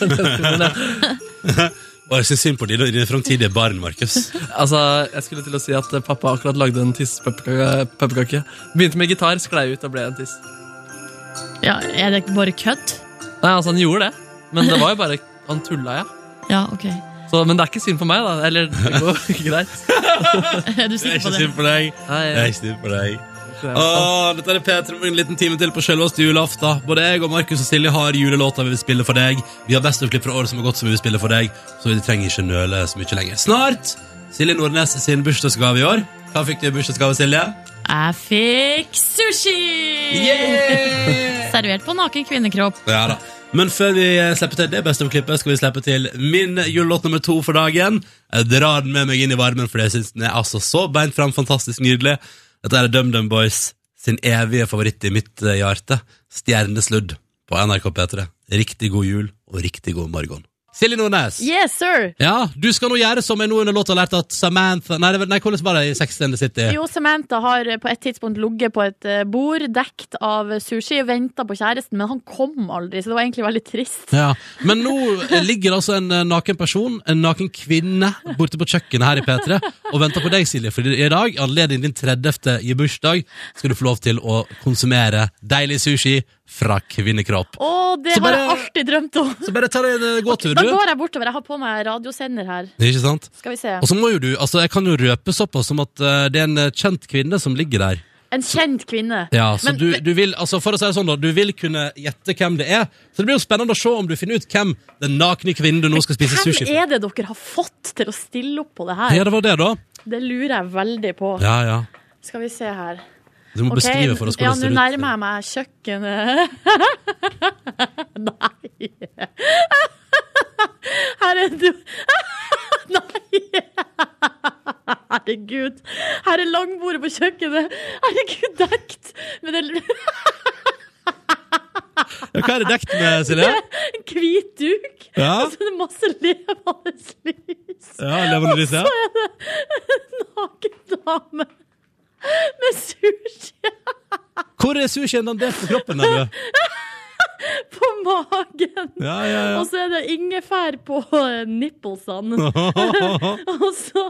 Speaker 1: Og jeg syns synd på dine, dine framtidige barn,
Speaker 3: (laughs)
Speaker 1: Markus.
Speaker 3: Altså, Jeg skulle til å si at eh, pappa akkurat lagde en tisspepperkake. pepperkake. Begynte med gitar, sklei ut og ble en tiss.
Speaker 9: ja, er det bare kødd?
Speaker 3: Nei, altså, han gjorde det, men det var jo bare Han tulla, ja.
Speaker 9: Ja,
Speaker 3: (laughs)
Speaker 9: ok.
Speaker 3: Så, men det er ikke synd på meg, da. Eller, det går (laughs) greit.
Speaker 9: Er du
Speaker 1: Jeg
Speaker 9: sikker
Speaker 1: er ikke
Speaker 9: på det?
Speaker 1: synd på deg. Jeg er ikke synd på deg. Åh, dette er Peter med en liten time til på selveste julaften. Både jeg og Markus og Silje har julelåter vi vil spille for deg. Vi har best of-klipp fra året som har gått, som vi vil spille for deg. Så vi trenger ikke nøle så mye lenger. Snart Silje Nordnes sin bursdagsgave i år. Hva fikk du i bursdagsgave, Silje?
Speaker 9: Jeg fikk sushi! Servert på naken kvinnekropp.
Speaker 1: Ja da. Men før vi eh, slipper til det beste av klippet, skal vi slippe til min julelåt nummer to for dagen. Jeg drar den med meg inn i varmen, for jeg syns den er altså så beint fram fantastisk nydelig. Dette er DumDum Boys sin evige favoritt i mitt eh, hjerte, Stjernesludd, på NRK P3. Riktig god jul og riktig god morgen. Silje Nordnes.
Speaker 9: Yes, sir!
Speaker 1: Ja, du skal nå gjøre som jeg nå under låta har lært at Samantha Nei, det var- nei hvordan var det i Sex and the City?
Speaker 4: (laughs) Jo, Samantha har eh, på et tidspunkt ligget på et eh, bord dekt av sushi og venta på kjæresten, men han kom aldri, så det var egentlig veldig trist.
Speaker 1: Ja. Men nå ligger det altså en eh, naken person, en naken kvinne, borte på kjøkkenet her i P3 og venter på deg, Silje. For i dag, i anledning din 30. i bursdag, skal du få lov til å konsumere deilig sushi fra kvinnekropp.
Speaker 4: Å, det
Speaker 1: Så bare-
Speaker 4: har jeg alltid drømt om!
Speaker 1: Så bare ta deg en eh, gåtur,
Speaker 4: Da
Speaker 1: du.
Speaker 4: går jeg bortover. Jeg har på meg radiosender her.
Speaker 1: Ikke sant?
Speaker 4: Skal vi se.
Speaker 1: Og så må jo du, altså Jeg kan jo røpe såpass som at eh, det er en eh, kjent kvinne som ligger der.
Speaker 4: En kjent kvinne.
Speaker 1: Ja, så
Speaker 4: Men-
Speaker 1: du, du vil, altså For å si det sånn, da. Du vil kunne gjette hvem det er. Så det blir jo spennende å se om du finner ut hvem den nakne kvinnen du nå skal spise
Speaker 4: Hvem
Speaker 1: sushi fra.
Speaker 4: er det dere har fått til å stille opp på det her?
Speaker 1: Ja, det var det, da.
Speaker 4: Det lurer jeg veldig på.
Speaker 1: Ja, ja.
Speaker 4: Skal vi se her.
Speaker 1: Du må
Speaker 4: Ok,
Speaker 1: beskrive for oss hvordan
Speaker 4: ja,
Speaker 1: det ser
Speaker 4: Nå
Speaker 1: ut.
Speaker 4: nærmer jeg meg kjøkkenet. (laughs) Nei! Her er du (laughs) Nei! Herregud. Her er langbordet på kjøkkenet. Herregud, dekt med det
Speaker 1: Ja, hva er det dekt med,
Speaker 4: (laughs)
Speaker 1: Silje?
Speaker 4: En hvit duk.
Speaker 1: Ja.
Speaker 4: Og så er det masse levende lys.
Speaker 1: Ja, levende lys, ja.
Speaker 4: Og så er det en naken dame med sushi
Speaker 1: Hvor er sushien den delt på kroppen? Der, du?
Speaker 4: på magen.
Speaker 1: Ja, ja, ja.
Speaker 4: Og så er det ingefær på eh,
Speaker 1: (laughs)
Speaker 4: nipplesene. og så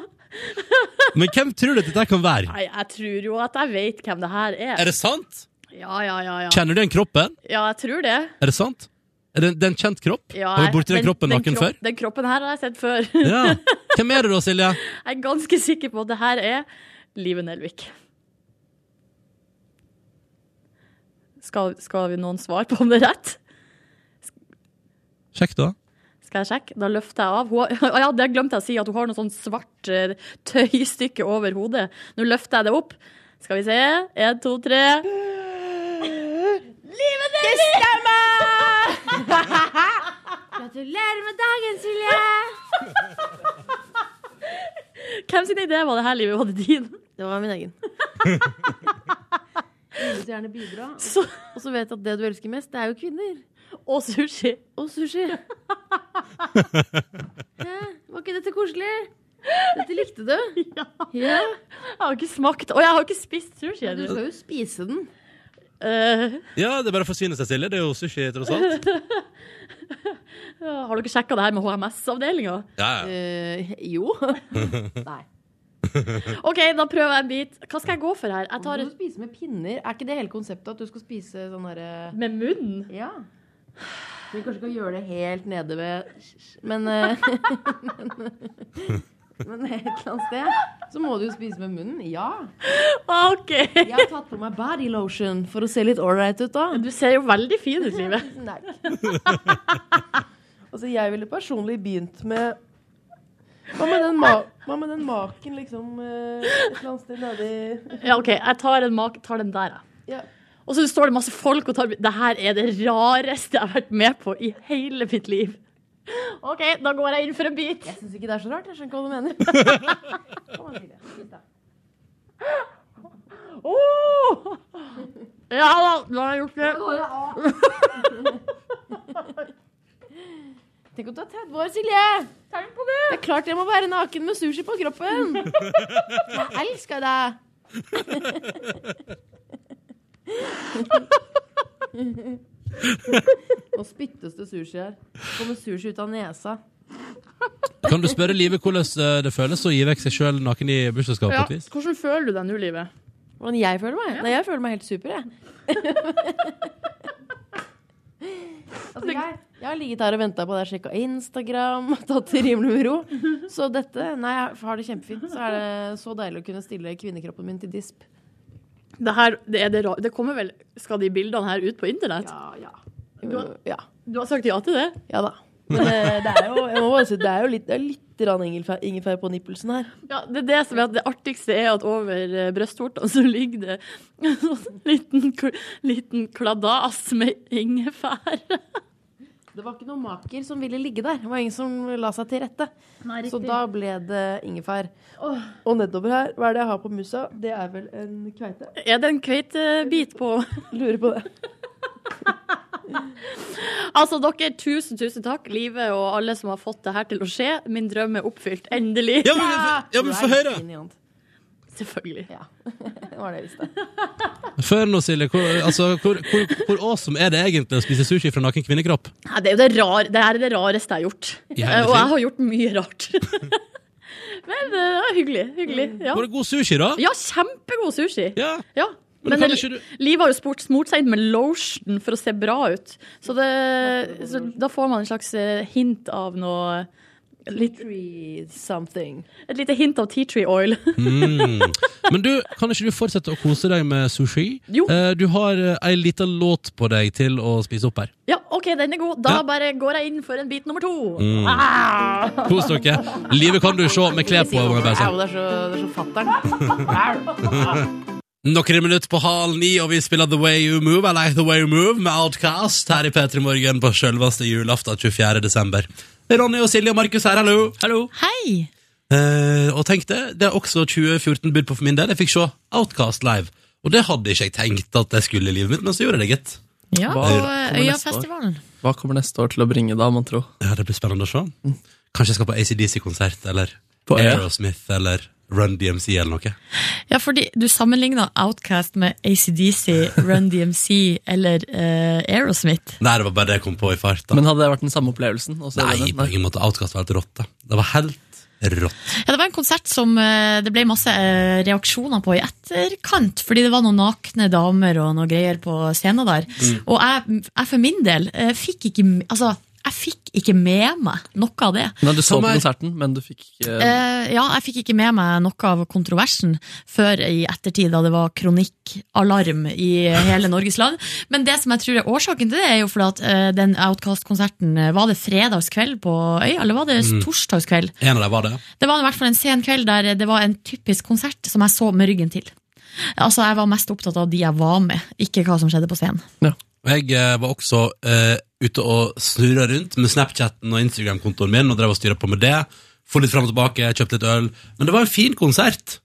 Speaker 1: Men hvem tror du at dette kan være?
Speaker 4: Nei, jeg tror jo at jeg vet hvem det her er.
Speaker 1: Er det sant?
Speaker 4: Ja, ja, ja. ja.
Speaker 1: Kjenner du den kroppen?
Speaker 4: Ja, jeg tror det.
Speaker 1: Er det sant? Er det, det er en kjent kropp?
Speaker 4: Ja,
Speaker 1: Har du borti den
Speaker 4: den-
Speaker 1: kroppen
Speaker 4: den
Speaker 1: naken
Speaker 4: kropp-
Speaker 1: før?
Speaker 4: Den kroppen her har jeg sett før.
Speaker 1: (laughs)
Speaker 4: (laughs)
Speaker 1: Ja. Hvem er det da, Silje?
Speaker 4: Jeg er ganske sikker på at det her er Live Nelvik. Skal, skal vi noen svar på om det er rett?
Speaker 1: Sjekk, da.
Speaker 4: Skal jeg sjekke? Da løfter jeg av. Hun, har- Å ja, det glemte jeg å si, at hun har noe sånn svart eh, tøystykke over hodet. Nå løfter jeg det opp. Skal vi se. Én, to, tre. Live Nelvik! Det stemmer!
Speaker 12: (laughs) Gratulerer med dagen, Silje!
Speaker 4: Hvem sin idé var det her, Live? Var det din?
Speaker 12: Det var min egen. (laughs) Du vil så gjerne bidra. og- Og så vet jeg at det du elsker mest, det er jo kvinner.
Speaker 4: Og sushi.
Speaker 12: Og
Speaker 4: (laughs)
Speaker 12: sushi. Hæ? Var ikke dette koselig? Dette likte du? Ja.
Speaker 4: Jeg har ikke smakt Og jeg har ikke spist sushi.
Speaker 12: Men du skal jo spise den.
Speaker 4: Eh,
Speaker 1: Ja, det bare forsvinner seg, Silje. Det er jo sushi, tross alt.
Speaker 4: ja, har dere sjekka det her med HMS-avdelinga?
Speaker 1: Ja,
Speaker 4: (laughs)
Speaker 1: ja.
Speaker 12: Eh. (laughs)
Speaker 4: jo. OK, da prøver jeg en bit. Hva skal jeg gå for her? Jeg
Speaker 12: Du
Speaker 4: tar (laughs)
Speaker 12: skal
Speaker 4: et
Speaker 12: spise med pinner. Er ikke det hele konseptet at du skal spise sånn derre
Speaker 4: Med munnen?
Speaker 12: Ja. (laughs) Vi kanskje ikke gjøre det helt nede ved Men, eh, men eh, Men et eller annet sted så må du jo spise med munnen. Ja.
Speaker 13: Ok Jeg
Speaker 12: har tatt på meg body lotion for å se litt ålreit ut, da.
Speaker 13: Du ser jo veldig fin ut, Live.
Speaker 12: Tusen takk. (laughs) altså, jeg ville personlig begynt med Hva med den, ma hva med den maken, liksom? eh, Et eller annet sted nedi
Speaker 13: Ja, OK, jeg tar, en mak tar den der, jeg.
Speaker 12: Ja.
Speaker 13: Og så står det masse folk og tar Det her er det rareste jeg har vært med på i hele mitt liv. OK, da går jeg inn for en bit.
Speaker 12: Jeg syns ikke det er så rart. Jeg skjønner ikke hva du mener. Kom an, Silje. Spis, da.
Speaker 13: Oh! Ja da, da har jeg gjort
Speaker 12: Da går
Speaker 13: det.
Speaker 12: Tenk om du er 30 år, Silje! Det er klart jeg må være naken med sushi på kroppen! Jeg elsker deg! Nå spyttes det sushi her. Det kommer sushi ut av nesa.
Speaker 1: Kan du spørre Live hvordan eh, det føles å gi vekk seg sjøl naken i bursdagsgave? på
Speaker 13: Ja,
Speaker 1: et vis?
Speaker 13: hvordan føler du deg nå, Live?
Speaker 12: Hvordan jeg føler meg? Nei, jeg føler meg helt super, jeg. (laughs) altså, jeg, jeg har ligget her og venta på deg, sjekka Instagram, tatt det rimelig med ro. Så dette Nei, jeg har det kjempefint. Så er det så deilig å kunne stille kvinnekroppen min til disp.
Speaker 13: Det, her, det, er det, ra- det kommer vel Skal de bildene her ut på internett?
Speaker 12: Ja,
Speaker 13: Du har, du har sagt ja til det?
Speaker 12: Ja da. Men eh, det er jo, jeg må bare si, det er jo litt, det er litt rann ingefær, ingefær på nippelsen her.
Speaker 13: Ja, det, er det, som er at det artigste er at over eh, brystvortene så ligger det (laughs) en sånn liten, kl- liten kladas med ingefær.
Speaker 12: Det var ikke noen maker som ville ligge der. Det var ingen som la seg til rette.
Speaker 13: Nei,
Speaker 12: så
Speaker 13: riktig.
Speaker 12: da ble det ingefær. Og nedover her, hva er det jeg har på musa? Det er vel en kveite?
Speaker 13: Er det en kveitebit eh, på?
Speaker 12: (laughs) Lurer på det.
Speaker 13: (laughs) Altså, dere, tusen, tusen takk, Live og alle som har fått det her til å skje. Min drøm er oppfylt. Endelig.
Speaker 12: Ja, men- ja, men få høre.
Speaker 13: Selvfølgelig.
Speaker 12: Det var det jeg visste.
Speaker 1: Før nå, Silje, hvor, altså, hvor, hvor, hvor awesome er det egentlig å spise sushi fra naken kvinnekropp?
Speaker 13: Nei, det er jo det, rar, det, her er det rareste jeg har gjort.
Speaker 1: I
Speaker 13: Eh,
Speaker 1: hele
Speaker 13: Og jeg
Speaker 1: tiden.
Speaker 13: har gjort mye rart. (laughs) Men det var hyggelig. hyggelig ja.
Speaker 1: Var det god sushi, da?
Speaker 13: Ja, kjempegod sushi.
Speaker 1: Ja.
Speaker 13: Men,
Speaker 1: Men kan
Speaker 13: Liv
Speaker 1: ikke du-
Speaker 13: har jo spurt, smurt seg inn med lotion for å se bra ut. Så, det, så da får man en slags eh, hint av noe litt, Et lite hint av tea tree oil.
Speaker 1: Mm. Men du, kan ikke du fortsette å kose deg med sushi?
Speaker 13: Jo.
Speaker 1: Eh, Du har eh, ei lita låt på deg til å spise opp her.
Speaker 13: (laughs) ja, OK, den er god. Da
Speaker 1: Ja.
Speaker 13: bare går jeg inn for en bit nummer to.
Speaker 1: Mm.
Speaker 13: Ah!
Speaker 1: Kos dere. Livet kan du se med klær på. må jeg bare si.
Speaker 12: Au, det er så, det er så fatter'n.
Speaker 1: Noen minutter på halv ni, og vi spiller The Way You Move I Like The Way You Move med Outcast her i P3 Morgen på selveste julaften 24. desember. Ronny og Silje og Markus her, hallo. Hallo.
Speaker 4: Hei!
Speaker 1: Eh, og tenk det, det er også 2014 bud på for min del. Jeg fikk se Outcast live. Og det hadde ikke jeg tenkt at jeg skulle i livet mitt, men så gjorde jeg det, gitt.
Speaker 4: Ja, på
Speaker 1: Hva-
Speaker 4: eh,
Speaker 1: Kommer neste år.
Speaker 4: Øyafestivalen.
Speaker 3: Hva kommer neste år til å bringe da, man tror?
Speaker 1: Ja, det blir spennende å se. Kanskje jeg skal på ACDC-konsert, eller
Speaker 3: Mm. På E? Øya?
Speaker 1: Aerosmith, eller Run DMC, eller noe.
Speaker 4: Ja, fordi du sammenligna Outcast med ACDC, Run DMC eller eh, Aerosmith.
Speaker 1: Nei, det var bare det jeg kom på i farta.
Speaker 3: Men hadde det vært den samme opplevelsen? Og så er det
Speaker 1: Nei,
Speaker 3: den?
Speaker 1: på ingen måte. Outcast var helt rått, da. Det var helt rått.
Speaker 4: Ja, Det var en konsert som eh, det ble masse eh, reaksjoner på i etterkant, fordi det var noen nakne damer og noe greier på scenen der.
Speaker 14: Mm.
Speaker 4: Og jeg, jeg for min del eh, fikk ikke Altså, jeg fikk ikke med meg noe av det.
Speaker 3: Nei, du så
Speaker 4: Som
Speaker 3: på
Speaker 4: er-
Speaker 3: konserten, men du fikk ikke
Speaker 4: Eh, ja, jeg fikk ikke med meg noe av kontroversen før i ettertid, da det var kronikkalarm i hele Norges land. Men det som jeg tror er årsaken til det, er jo fordi at eh, den Outcast-konserten eh, Var det fredagskveld på Øy, eller var det
Speaker 1: Mm.
Speaker 4: torsdagskveld?
Speaker 1: En av dem var det.
Speaker 4: Det var i hvert fall en sen kveld der det var en typisk konsert som jeg så med ryggen til. Altså, Jeg var mest opptatt av de jeg var med, ikke hva som skjedde på scenen.
Speaker 1: Og Jeg eh, var også eh, ute og snurra rundt med Snapchatten og Instagram-kontoen min og drev og styra på med det. Få litt fram og tilbake, kjøpte litt øl. Men det var en fin konsert.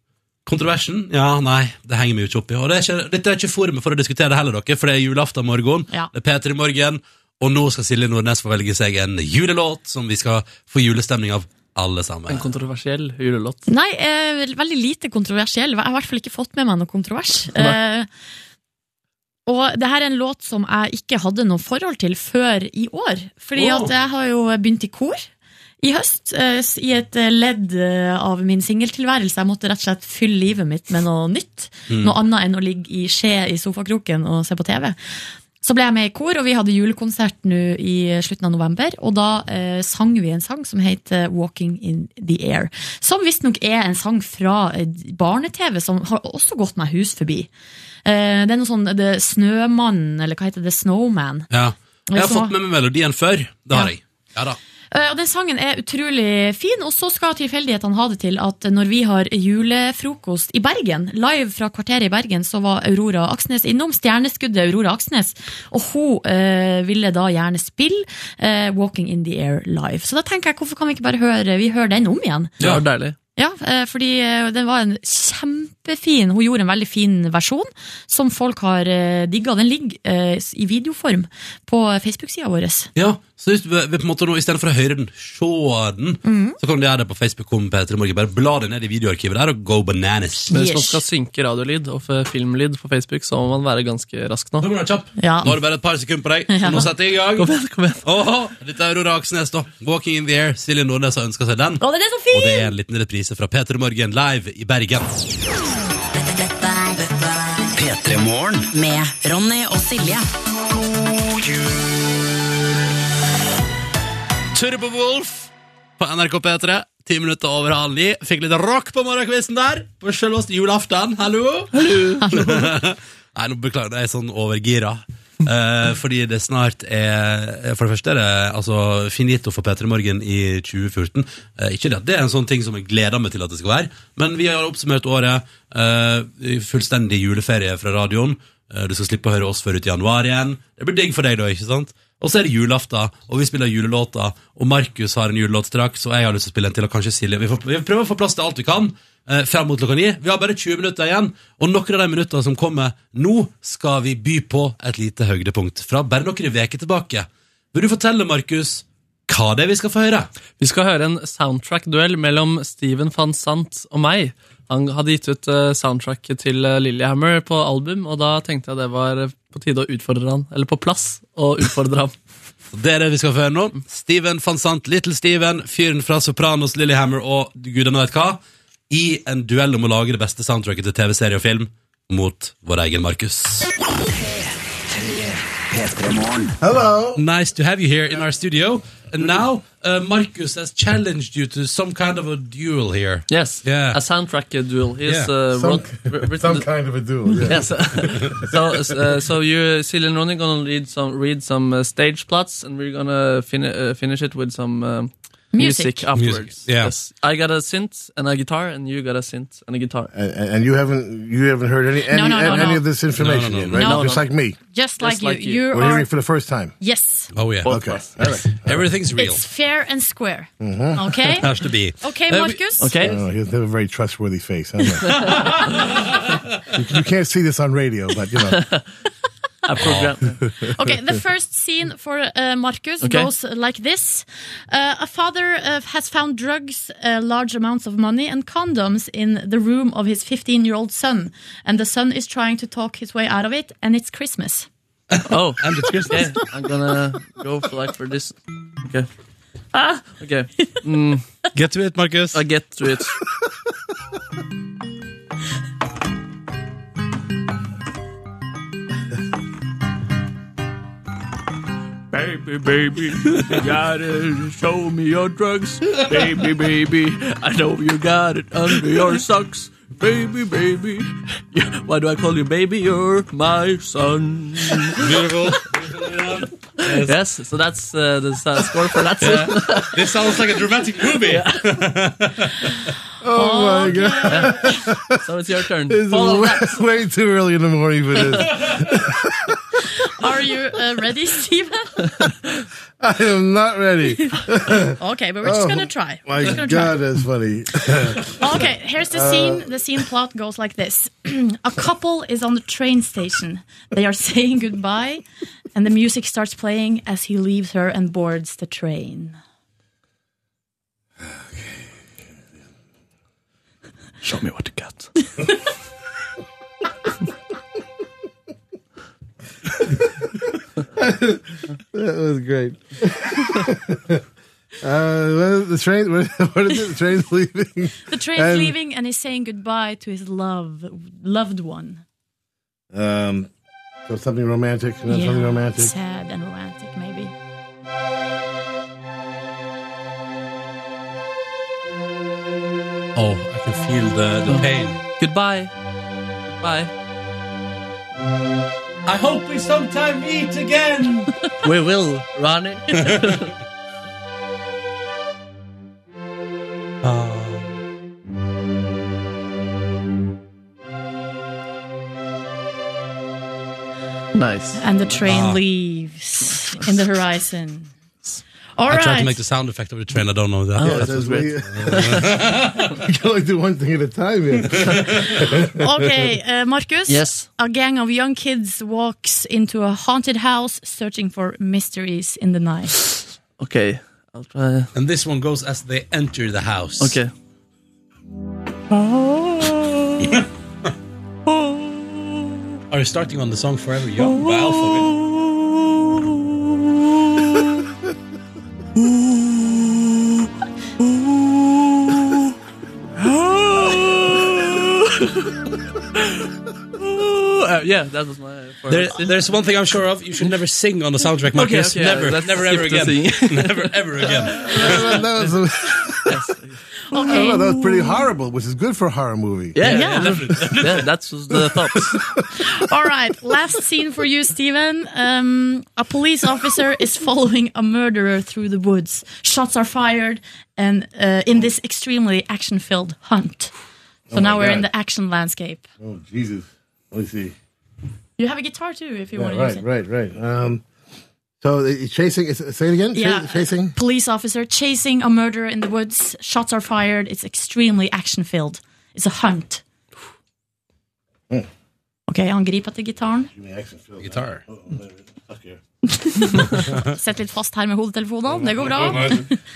Speaker 1: Kontroversen? Ja, nei, det henger vi jo ikke opp i. Og det er ikke, dette er ikke forumet for å diskutere det heller, dere, for det er julaften morgen.
Speaker 4: Ja.
Speaker 1: Det er P3 morgen, og nå skal Silje Nordnes få velge seg en julelåt som vi skal få julestemning av, alle sammen.
Speaker 3: en kontroversiell julelåt.
Speaker 4: Nei, eh, veldig lite kontroversiell. Jeg har i hvert fall ikke fått med meg noe kontrovers.
Speaker 3: Nei.
Speaker 4: Eh, og det her er en låt som jeg ikke hadde noe forhold til før i år. Fordi
Speaker 14: Wow.
Speaker 4: at jeg har jo begynt i kor i høst, eh, s- i et eh, ledd eh, av min singeltilværelse. Jeg måtte rett og slett fylle livet mitt med noe nytt.
Speaker 14: Mm.
Speaker 4: Noe annet enn å ligge i skje i sofakroken og se på TV. Så ble jeg med i kor, og vi hadde julekonsert nå i eh, slutten av november. Og da eh, sang vi en sang som heter 'Walking in the Air'. Som visstnok er en sang fra eh, barne-TV, som har også gått meg hus forbi. Eh, det er noe sånn The Snømann, eller hva heter det? Snowman.
Speaker 1: Ja. Jeg har
Speaker 4: Så-
Speaker 1: fått med meg melodien før. Det har jeg. Ja da.
Speaker 4: Eh, Og den sangen er utrolig fin, og så skal tilfeldighetene ha det til at når vi har julefrokost i Bergen, live fra kvarteret i Bergen, så var Aurora Aksnes innom, stjerneskuddet Aurora Aksnes, og hun eh, ville da gjerne spille eh, Walking in the Air live. Så da tenker jeg, hvorfor kan vi ikke bare høre, vi hører den om igjen?
Speaker 3: Det var deilig.
Speaker 4: Ja, eh, fordi eh, den var en kjempefin Hun gjorde en veldig fin versjon som folk har eh, digga. Den ligger eh, i videoform på Facebook-sida vår.
Speaker 1: Ja, så hvis vi, vi på en måte nå, I stedet for å høre den, se den, så kan du gjøre det på Facebook. Kom, Peter, Morgen. Bare bla deg ned i videoarkivet der og go bananas.
Speaker 3: Men hvis man skal synke radiolyd og f- filmlyd på Facebook, så må man være ganske rask nå.
Speaker 1: Nå har du bare et par sekunder på deg, så
Speaker 3: Ja.
Speaker 1: nå setter jeg i gang.
Speaker 3: Kom igjen, kom igjen.
Speaker 1: Åhå, dette er Aurora Aksnes, da. 'Walking in the Air'. Silje Nordnes har ønska seg den.
Speaker 4: Å, den er så fin!
Speaker 1: Og det er en liten reprise fra Peter Morgen live i Bergen.
Speaker 6: P3 Morgen.
Speaker 2: Med Ronny og Silje.
Speaker 1: Turbo Wolf på NRK P3. Ti minutter over halv ni. Fikk litt rock på morgenkvisten der. På selveste julaften. Hallo! (laughs) Nei, nå beklager jeg, jeg er sånn overgira. Eh, fordi det snart er For det første er det altså, finito for P3 Morgen i 2014. Eh, ikke det at det er en sånn ting som jeg gleder meg til at det skal være, men vi har oppsummert året. eh, i fullstendig juleferie fra radioen. Eh, du skal slippe å høre oss før ut i januar igjen. Det blir digg for deg, da, ikke sant? Og så er det julaften, og vi spiller julelåter. Og Markus har en julelåt straks, og jeg har lyst til å spille en til. Og kanskje Silje. Vi, får, vi prøver å få plass til alt vi kan. Eh, frem mot klokka ni. Vi har bare 20 minutter igjen, og noen av de minuttene som kommer nå, skal vi by på et lite høydepunkt fra bare noen uker tilbake. Vil du fortelle, Markus, hva det er vi skal få høre?
Speaker 3: Vi skal høre en soundtrack-duell mellom Steven van Sant og meg. Han hadde gitt ut eh, soundtracket til eh, Lillehammer på album, og da tenkte jeg det var eh, på tide å utfordre han. Eller på plass å utfordre ham.
Speaker 1: Det er det vi skal få høre nå. Steven van Sant, Little Steven, fyren fra Sopranos, Lillehammer og gudene vet hva, i en duell om å lage det beste soundtracket til TV-serie og film mot vår egen Markus. Hello. Nice to have you here in our studio. And now uh, Marcus has challenged you to some kind of a duel here.
Speaker 3: Yes, a soundtrack duel. He's,
Speaker 1: Yeah.
Speaker 3: uh,
Speaker 1: Some-
Speaker 3: wrote- written
Speaker 14: some
Speaker 3: the-
Speaker 14: kind of a duel, yeah.
Speaker 3: Yes. (laughs) so, uh, so you, Silje and Ronny, gonna read some read some uh, stage plots, and we're gonna fin uh, finish it with some um,
Speaker 14: Music.
Speaker 3: music afterwards.
Speaker 14: Music, yeah.
Speaker 3: Yes. I got a synth and a guitar, and you got a synth and a guitar.
Speaker 14: And, and you haven't you haven't heard any any,
Speaker 3: No, no, no,
Speaker 14: any
Speaker 3: no.
Speaker 14: of this information
Speaker 3: No, no, no,
Speaker 14: yet,
Speaker 3: no.
Speaker 14: right?
Speaker 3: No,
Speaker 14: Just
Speaker 3: no.
Speaker 14: like me.
Speaker 4: Just like you. you.
Speaker 14: We're
Speaker 4: are
Speaker 14: hearing it for the first time.
Speaker 4: Yes.
Speaker 1: Oh yeah.
Speaker 14: Okay. All right.
Speaker 1: Everything's
Speaker 4: It's fair and square.
Speaker 14: Mm-hmm.
Speaker 4: Okay?
Speaker 14: (laughs)
Speaker 1: Has to be.
Speaker 4: Okay, Marcus? Okay.
Speaker 12: uh,
Speaker 14: Oh, he doesn't have a very trustworthy face. I don't know. you, you can't see this on radio, but you know.
Speaker 4: Okay, the first scene for uh, Marcus
Speaker 14: Okay.
Speaker 4: goes like this. Uh, a father uh, has found drugs, uh, large amounts of money, and condoms in the room of his 15 year old son. And the son is trying to talk his way out of it, and it's Christmas.
Speaker 3: Oh,
Speaker 1: and it's Christmas.
Speaker 3: I'm gonna go for like for this. Okay. Ah. Okay. Mm.
Speaker 1: Get to it, Marcus.
Speaker 3: I get to it.
Speaker 15: Baby, baby, you gotta show me your drugs. Baby, baby, I know you got it under your socks. Baby, baby, yeah, why do I call you baby? You're my son.
Speaker 1: Beautiful.
Speaker 3: Yes. so that's uh, the s- score for that. scene.
Speaker 1: (laughs) This sounds like a dramatic movie.
Speaker 14: Oh my god!
Speaker 3: (laughs) So it's your turn.
Speaker 14: It's
Speaker 3: Follow
Speaker 14: way,
Speaker 3: that.
Speaker 14: way too early in the morning for this.
Speaker 4: Are you uh, ready, (laughs) Steven?
Speaker 14: I am not ready.
Speaker 4: Okay, but we're just
Speaker 14: Oh,
Speaker 4: gonna try. We're
Speaker 14: My
Speaker 4: just gonna
Speaker 14: god,
Speaker 4: try.
Speaker 14: that's funny. (laughs)
Speaker 4: Okay, here's the scene. The scene plot goes like this (clears throat) A couple is on the train station. They are (laughs) saying goodbye, and the music starts playing as he leaves her and boards the train.
Speaker 15: Show me what you got.
Speaker 14: that was great. (laughs) uh, well, the train. What, (laughs) what is it? The train's leaving.
Speaker 4: The train's
Speaker 14: And-
Speaker 4: leaving, and he's saying goodbye to his love, loved one.
Speaker 14: Um, (laughs) So something romantic, and then
Speaker 4: Yeah,
Speaker 14: something romantic.
Speaker 4: Sad and romantic, maybe.
Speaker 1: Oh, I can feel the, the pain.
Speaker 3: Goodbye. Goodbye.
Speaker 1: I hope we sometime meet again.
Speaker 3: we will, (laughs)
Speaker 1: (laughs)
Speaker 3: Ronnie.
Speaker 1: Um.
Speaker 10: Nice.
Speaker 4: And the train
Speaker 1: Ah.
Speaker 4: leaves in the horizon. All
Speaker 1: I tried to
Speaker 4: right.
Speaker 1: (laughs) make the sound effect of the train. I don't know that.
Speaker 14: Yeah,
Speaker 3: Oh.
Speaker 1: That
Speaker 14: Oh, that's
Speaker 1: was
Speaker 14: way- (laughs)
Speaker 1: weird.
Speaker 14: we can only do one thing at a time.
Speaker 4: (laughs)
Speaker 14: Yeah.
Speaker 4: okay, uh, Marcus.
Speaker 3: Yes.
Speaker 4: A gang of young kids walks into a haunted house searching for mysteries in the night.
Speaker 3: Okay. I'll try.
Speaker 1: And this one goes as they enter the house.
Speaker 3: Okay.
Speaker 1: (laughs) Are you starting on the song Forever Young
Speaker 3: Oh.
Speaker 1: by Alphaville?
Speaker 3: (laughs) Uh, yeah, that was my. Uh,
Speaker 1: There, there's one thing I'm sure of. You should never sing on the soundtrack, Marcus.
Speaker 3: okay,
Speaker 1: never,
Speaker 3: let's
Speaker 1: never,
Speaker 3: skip
Speaker 1: ever
Speaker 3: the
Speaker 1: again.
Speaker 3: singing.
Speaker 1: (laughs) never, ever again.
Speaker 14: that was, I don't know, that was pretty horrible, which is good for a horror movie.
Speaker 3: Yeah, yeah, yeah. definitely. (laughs) yeah that's the thoughts.
Speaker 4: All right, last scene for you, Steven. Um, a police officer is following a murderer through the woods. Shots are fired, and uh, in this extremely action filled hunt. So
Speaker 14: Oh my
Speaker 4: now we're in
Speaker 14: God.
Speaker 4: the action landscape.
Speaker 14: Oh, Jesus. Let me see.
Speaker 4: You have a guitar too if you
Speaker 14: Yeah,
Speaker 4: want to use
Speaker 14: right,
Speaker 4: it.
Speaker 14: right, right. Um, so it's chasing. Is, it- say it again. Cha-
Speaker 4: Yeah,
Speaker 14: chasing.
Speaker 4: Police officer chasing a murderer in the woods. Shots are fired. It's extremely action filled. It's a hunt.
Speaker 14: Mm.
Speaker 4: OK, han griper til gitaren.
Speaker 1: Guitar.
Speaker 4: Sett litt fast her med hodetelefonene. Det går bra.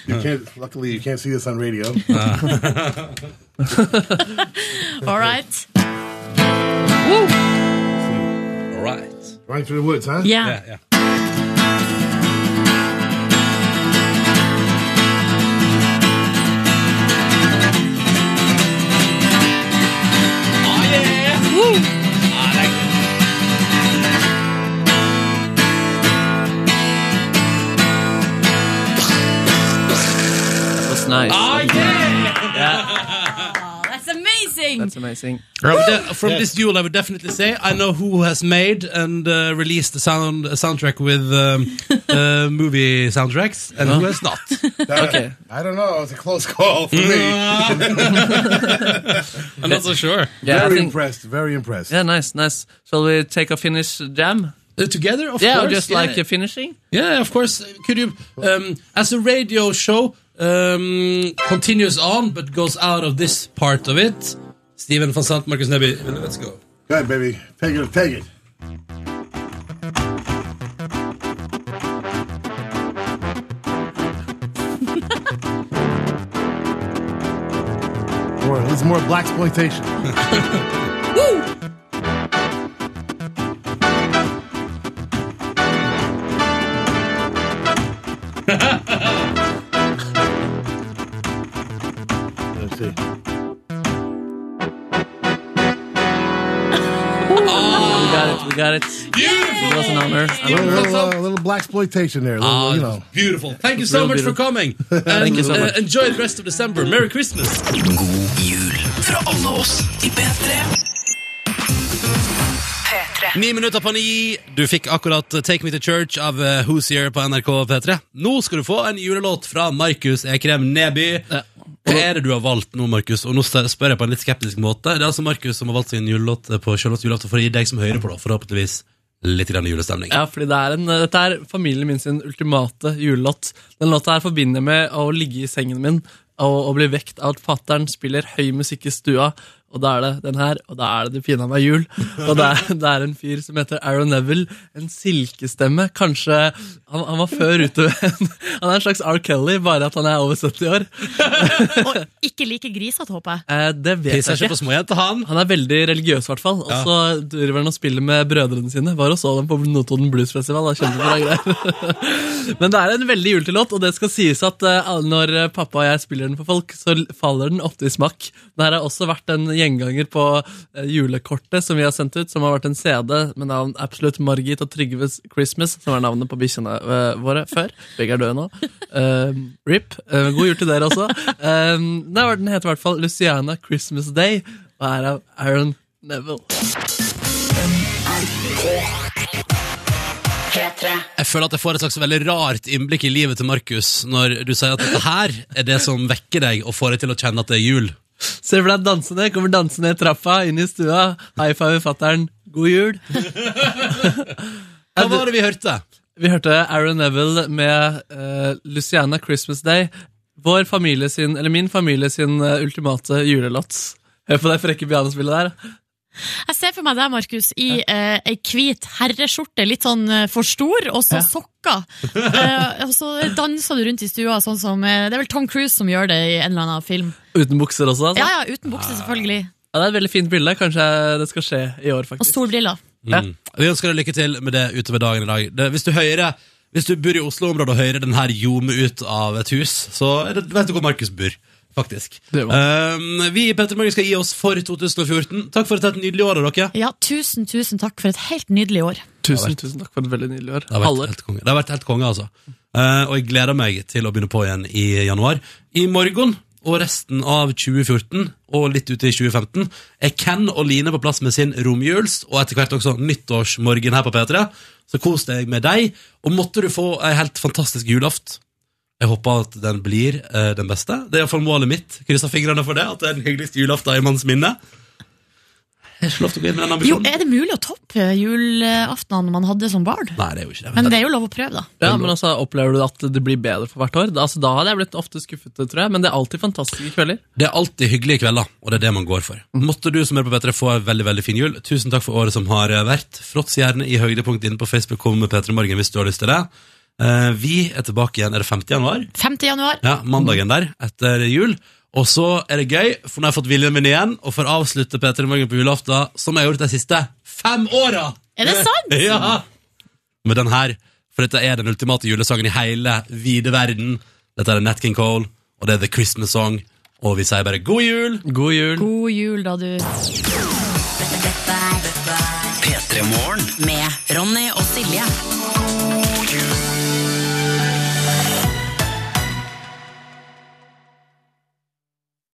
Speaker 14: You can't, luckily, you can't see this on (laughs) radio.
Speaker 4: All right.
Speaker 1: All right.
Speaker 14: Running through the woods, huh?
Speaker 3: Ah.
Speaker 4: Yeah.
Speaker 1: yeah. Oh,
Speaker 3: That was nice.
Speaker 1: Ah, yeah!
Speaker 4: That's amazing.
Speaker 3: That's amazing.
Speaker 1: From, the- from
Speaker 3: Yes.
Speaker 1: this duel, I would definitely say I know who has made and uh, released the sound a soundtrack with (laughs) um, uh, movie soundtracks and who has not.
Speaker 14: okay. I don't know. It was a close call for me.
Speaker 1: (laughs) I'm not so sure.
Speaker 3: Yeah, Mm, I
Speaker 14: very
Speaker 3: think-
Speaker 14: impressed. Very impressed.
Speaker 3: Yeah, nice, nice. Shall we take a Finnish jam?
Speaker 1: Uh, together, of
Speaker 3: yeah, or
Speaker 1: course,
Speaker 3: just
Speaker 1: yeah.
Speaker 3: like a finishing.
Speaker 1: Yeah, of course. Could you, um, as a radio show um, continues on but goes out of this part of it, Steven van Sant, Marcus Neby, let's go.
Speaker 14: Good, baby. Take it. Take it. (laughs) More, it's more black exploitation. Let's see.
Speaker 3: We got it, we got it. It was an honor.
Speaker 14: A little, little, uh, little black exploitation there. a
Speaker 3: Oh,
Speaker 14: Little,
Speaker 1: Ah,
Speaker 14: you know.
Speaker 1: Beautiful. Thank you so
Speaker 14: Real
Speaker 1: much for
Speaker 14: beautiful.
Speaker 1: coming. And,
Speaker 14: (laughs) Thank you so much.
Speaker 1: Uh, enjoy the rest of December. Merry Christmas.
Speaker 6: God jul fra alle oss i P3.
Speaker 1: Ni minutter på ni. Du fikk akkurat Take Me To Church av eh, Hoosier på NRK P3. Nå skal du få en julelåt fra Markus Ekrem Neby. Hva er det du har valgt nå, Markus? Og nå spør jeg på en litt skeptisk måte. Det er altså Markus som har valgt sin julelåt eh, på Sjølvåts julaften for å gi deg som hører på, da, forhåpentligvis litt grann julestemning.
Speaker 3: Ja, fordi det er en, eh, dette er familien min sin ultimate julelåt. Den låta her forbinder jeg med å ligge i sengen min og, og bli vekt av at fatter'n spiller høy musikk i stua. Og da er det den her, og da er det det fine meg jul. Og det er, det er en fyr som heter Aaron Neville. En silkestemme. Kanskje Han, han var før ute Han er en slags R. Kelly, bare at han er over 70 år.
Speaker 4: Ikke like grisete, håper jeg.
Speaker 3: Eh, det vet
Speaker 1: Pisser
Speaker 3: jeg
Speaker 1: ikke på småjenter, han.
Speaker 3: er veldig religiøs, i hvert fall. Og så driver han og spiller med brødrene sine. Var og så dem på Notodden Bluesfestival. Det er kjempebra greier. Men det er en veldig julete låt, og det skal sies eh, at eh, når pappa og jeg spiller den for folk, så faller den ofte i smakk. Det her har også vært en gjenganger på eh, julekortet som vi har sendt ut, som har vært en CD med navn Absolutt Margit og Trygves Christmas, som er navnet på bikkjene eh, våre før. Begge er døde nå. Eh, RIP. Eh, god jul til dere også. Eh, nei, den heter i hvert fall Luciana Christmas Day, og er av Aaron Neville.
Speaker 1: Jeg føler at jeg får et slags veldig rart innblikk i livet til Markus når du sier at dette her er det som vekker deg og får deg til å kjenne at det er jul.
Speaker 3: Se for deg dansende, kommer dansende i trappa, inn i stua. High five fatter'n. God jul. Hva
Speaker 1: var det vi hørte?
Speaker 3: Vi hørte Aaron Neville med eh, Luciana Christmas Day. Vår familie sin, eller min familie sin eh, ultimate julelåts. Hør på det frekke pianospillet der.
Speaker 4: Jeg ser for meg deg, Markus, i eh, ei hvit herreskjorte, litt sånn eh, for stor, og så sokker. Eh, og så danser du rundt i stua, sånn som eh, Det er vel Tom Cruise som gjør det i en eller annen film.
Speaker 3: Uten bukser også, altså.
Speaker 4: Ja, ja, uten bukse, selvfølgelig.
Speaker 3: Ja, det er et veldig fint bilde. Kanskje det skal skje i år,
Speaker 4: Og
Speaker 3: faktisk.
Speaker 4: solbriller.
Speaker 1: Mm. Vi ønsker deg lykke til med det utover dagen i dag. Det, hvis, du hører, hvis du bor i Oslo-området og hører den her ljome ut av et hus, så er det, vet du hvor Markus bor. Faktisk. Um, vi i Petter Morgen skal gi oss for 2014. Takk for et helt nydelig år av dere.
Speaker 4: Ja, tusen, tusen takk for et helt nydelig år.
Speaker 3: Tusen, tusen takk for et veldig nydelig år.
Speaker 1: Det har vært helt konge, det har vært helt konge altså. Eh, og jeg gleder meg til å begynne på igjen i januar. I morgen og resten av 2014 og litt ute i 2015 er Ken og Line på plass med sin romjuls og etter hvert også nyttårsmorgen her på P3. Så kos deg med deg, og måtte du få ei helt fantastisk julaft. Jeg håper at den blir eh, den beste. Det er iallfall målet mitt. Krysser fingrene for det. At det er den hyggeligste julaften i manns minne. Jeg har ikke lov til å gå inn med den
Speaker 4: Jo,
Speaker 1: ambisjonen.
Speaker 4: er det mulig å toppe julaftenene man hadde som barn?
Speaker 1: Nei, det er jo ikke det.
Speaker 4: Men det er jo lov å prøve, da.
Speaker 3: Ja, men altså, Opplever du at det blir bedre for hvert år? Da- Altså, da hadde jeg blitt ofte skuffet, tror jeg. Men det er alltid fantastiske kvelder.
Speaker 1: Det er alltid hyggelige kvelder, og det er det man går for. Måtte du som er på P3 få en veldig veldig fin jul. Tusen takk for året som har eh, vært. Fråts gjerne i høydepunkt inne på Facebook kommer med P3 Morgen hvis du har lyst til det. Eh, Vi er tilbake igjen, er det 50. januar?
Speaker 4: 5. januar.
Speaker 1: Ja, mandagen der, etter jul. Og så er det gøy, for nå har jeg fått viljen min igjen, og får avslutte P3 Morgen på julaften, som jeg har gjort de siste fem åra!
Speaker 4: Er det sant?
Speaker 1: (laughs) Ja! Med den her, for dette er den ultimate julesangen i hele vide verden. Dette er Nat King Cole, og det er The Christmas Song, og vi sier bare god jul!
Speaker 3: God jul!
Speaker 4: God jul, da, du.
Speaker 2: Med Ronny og Silje. God jul.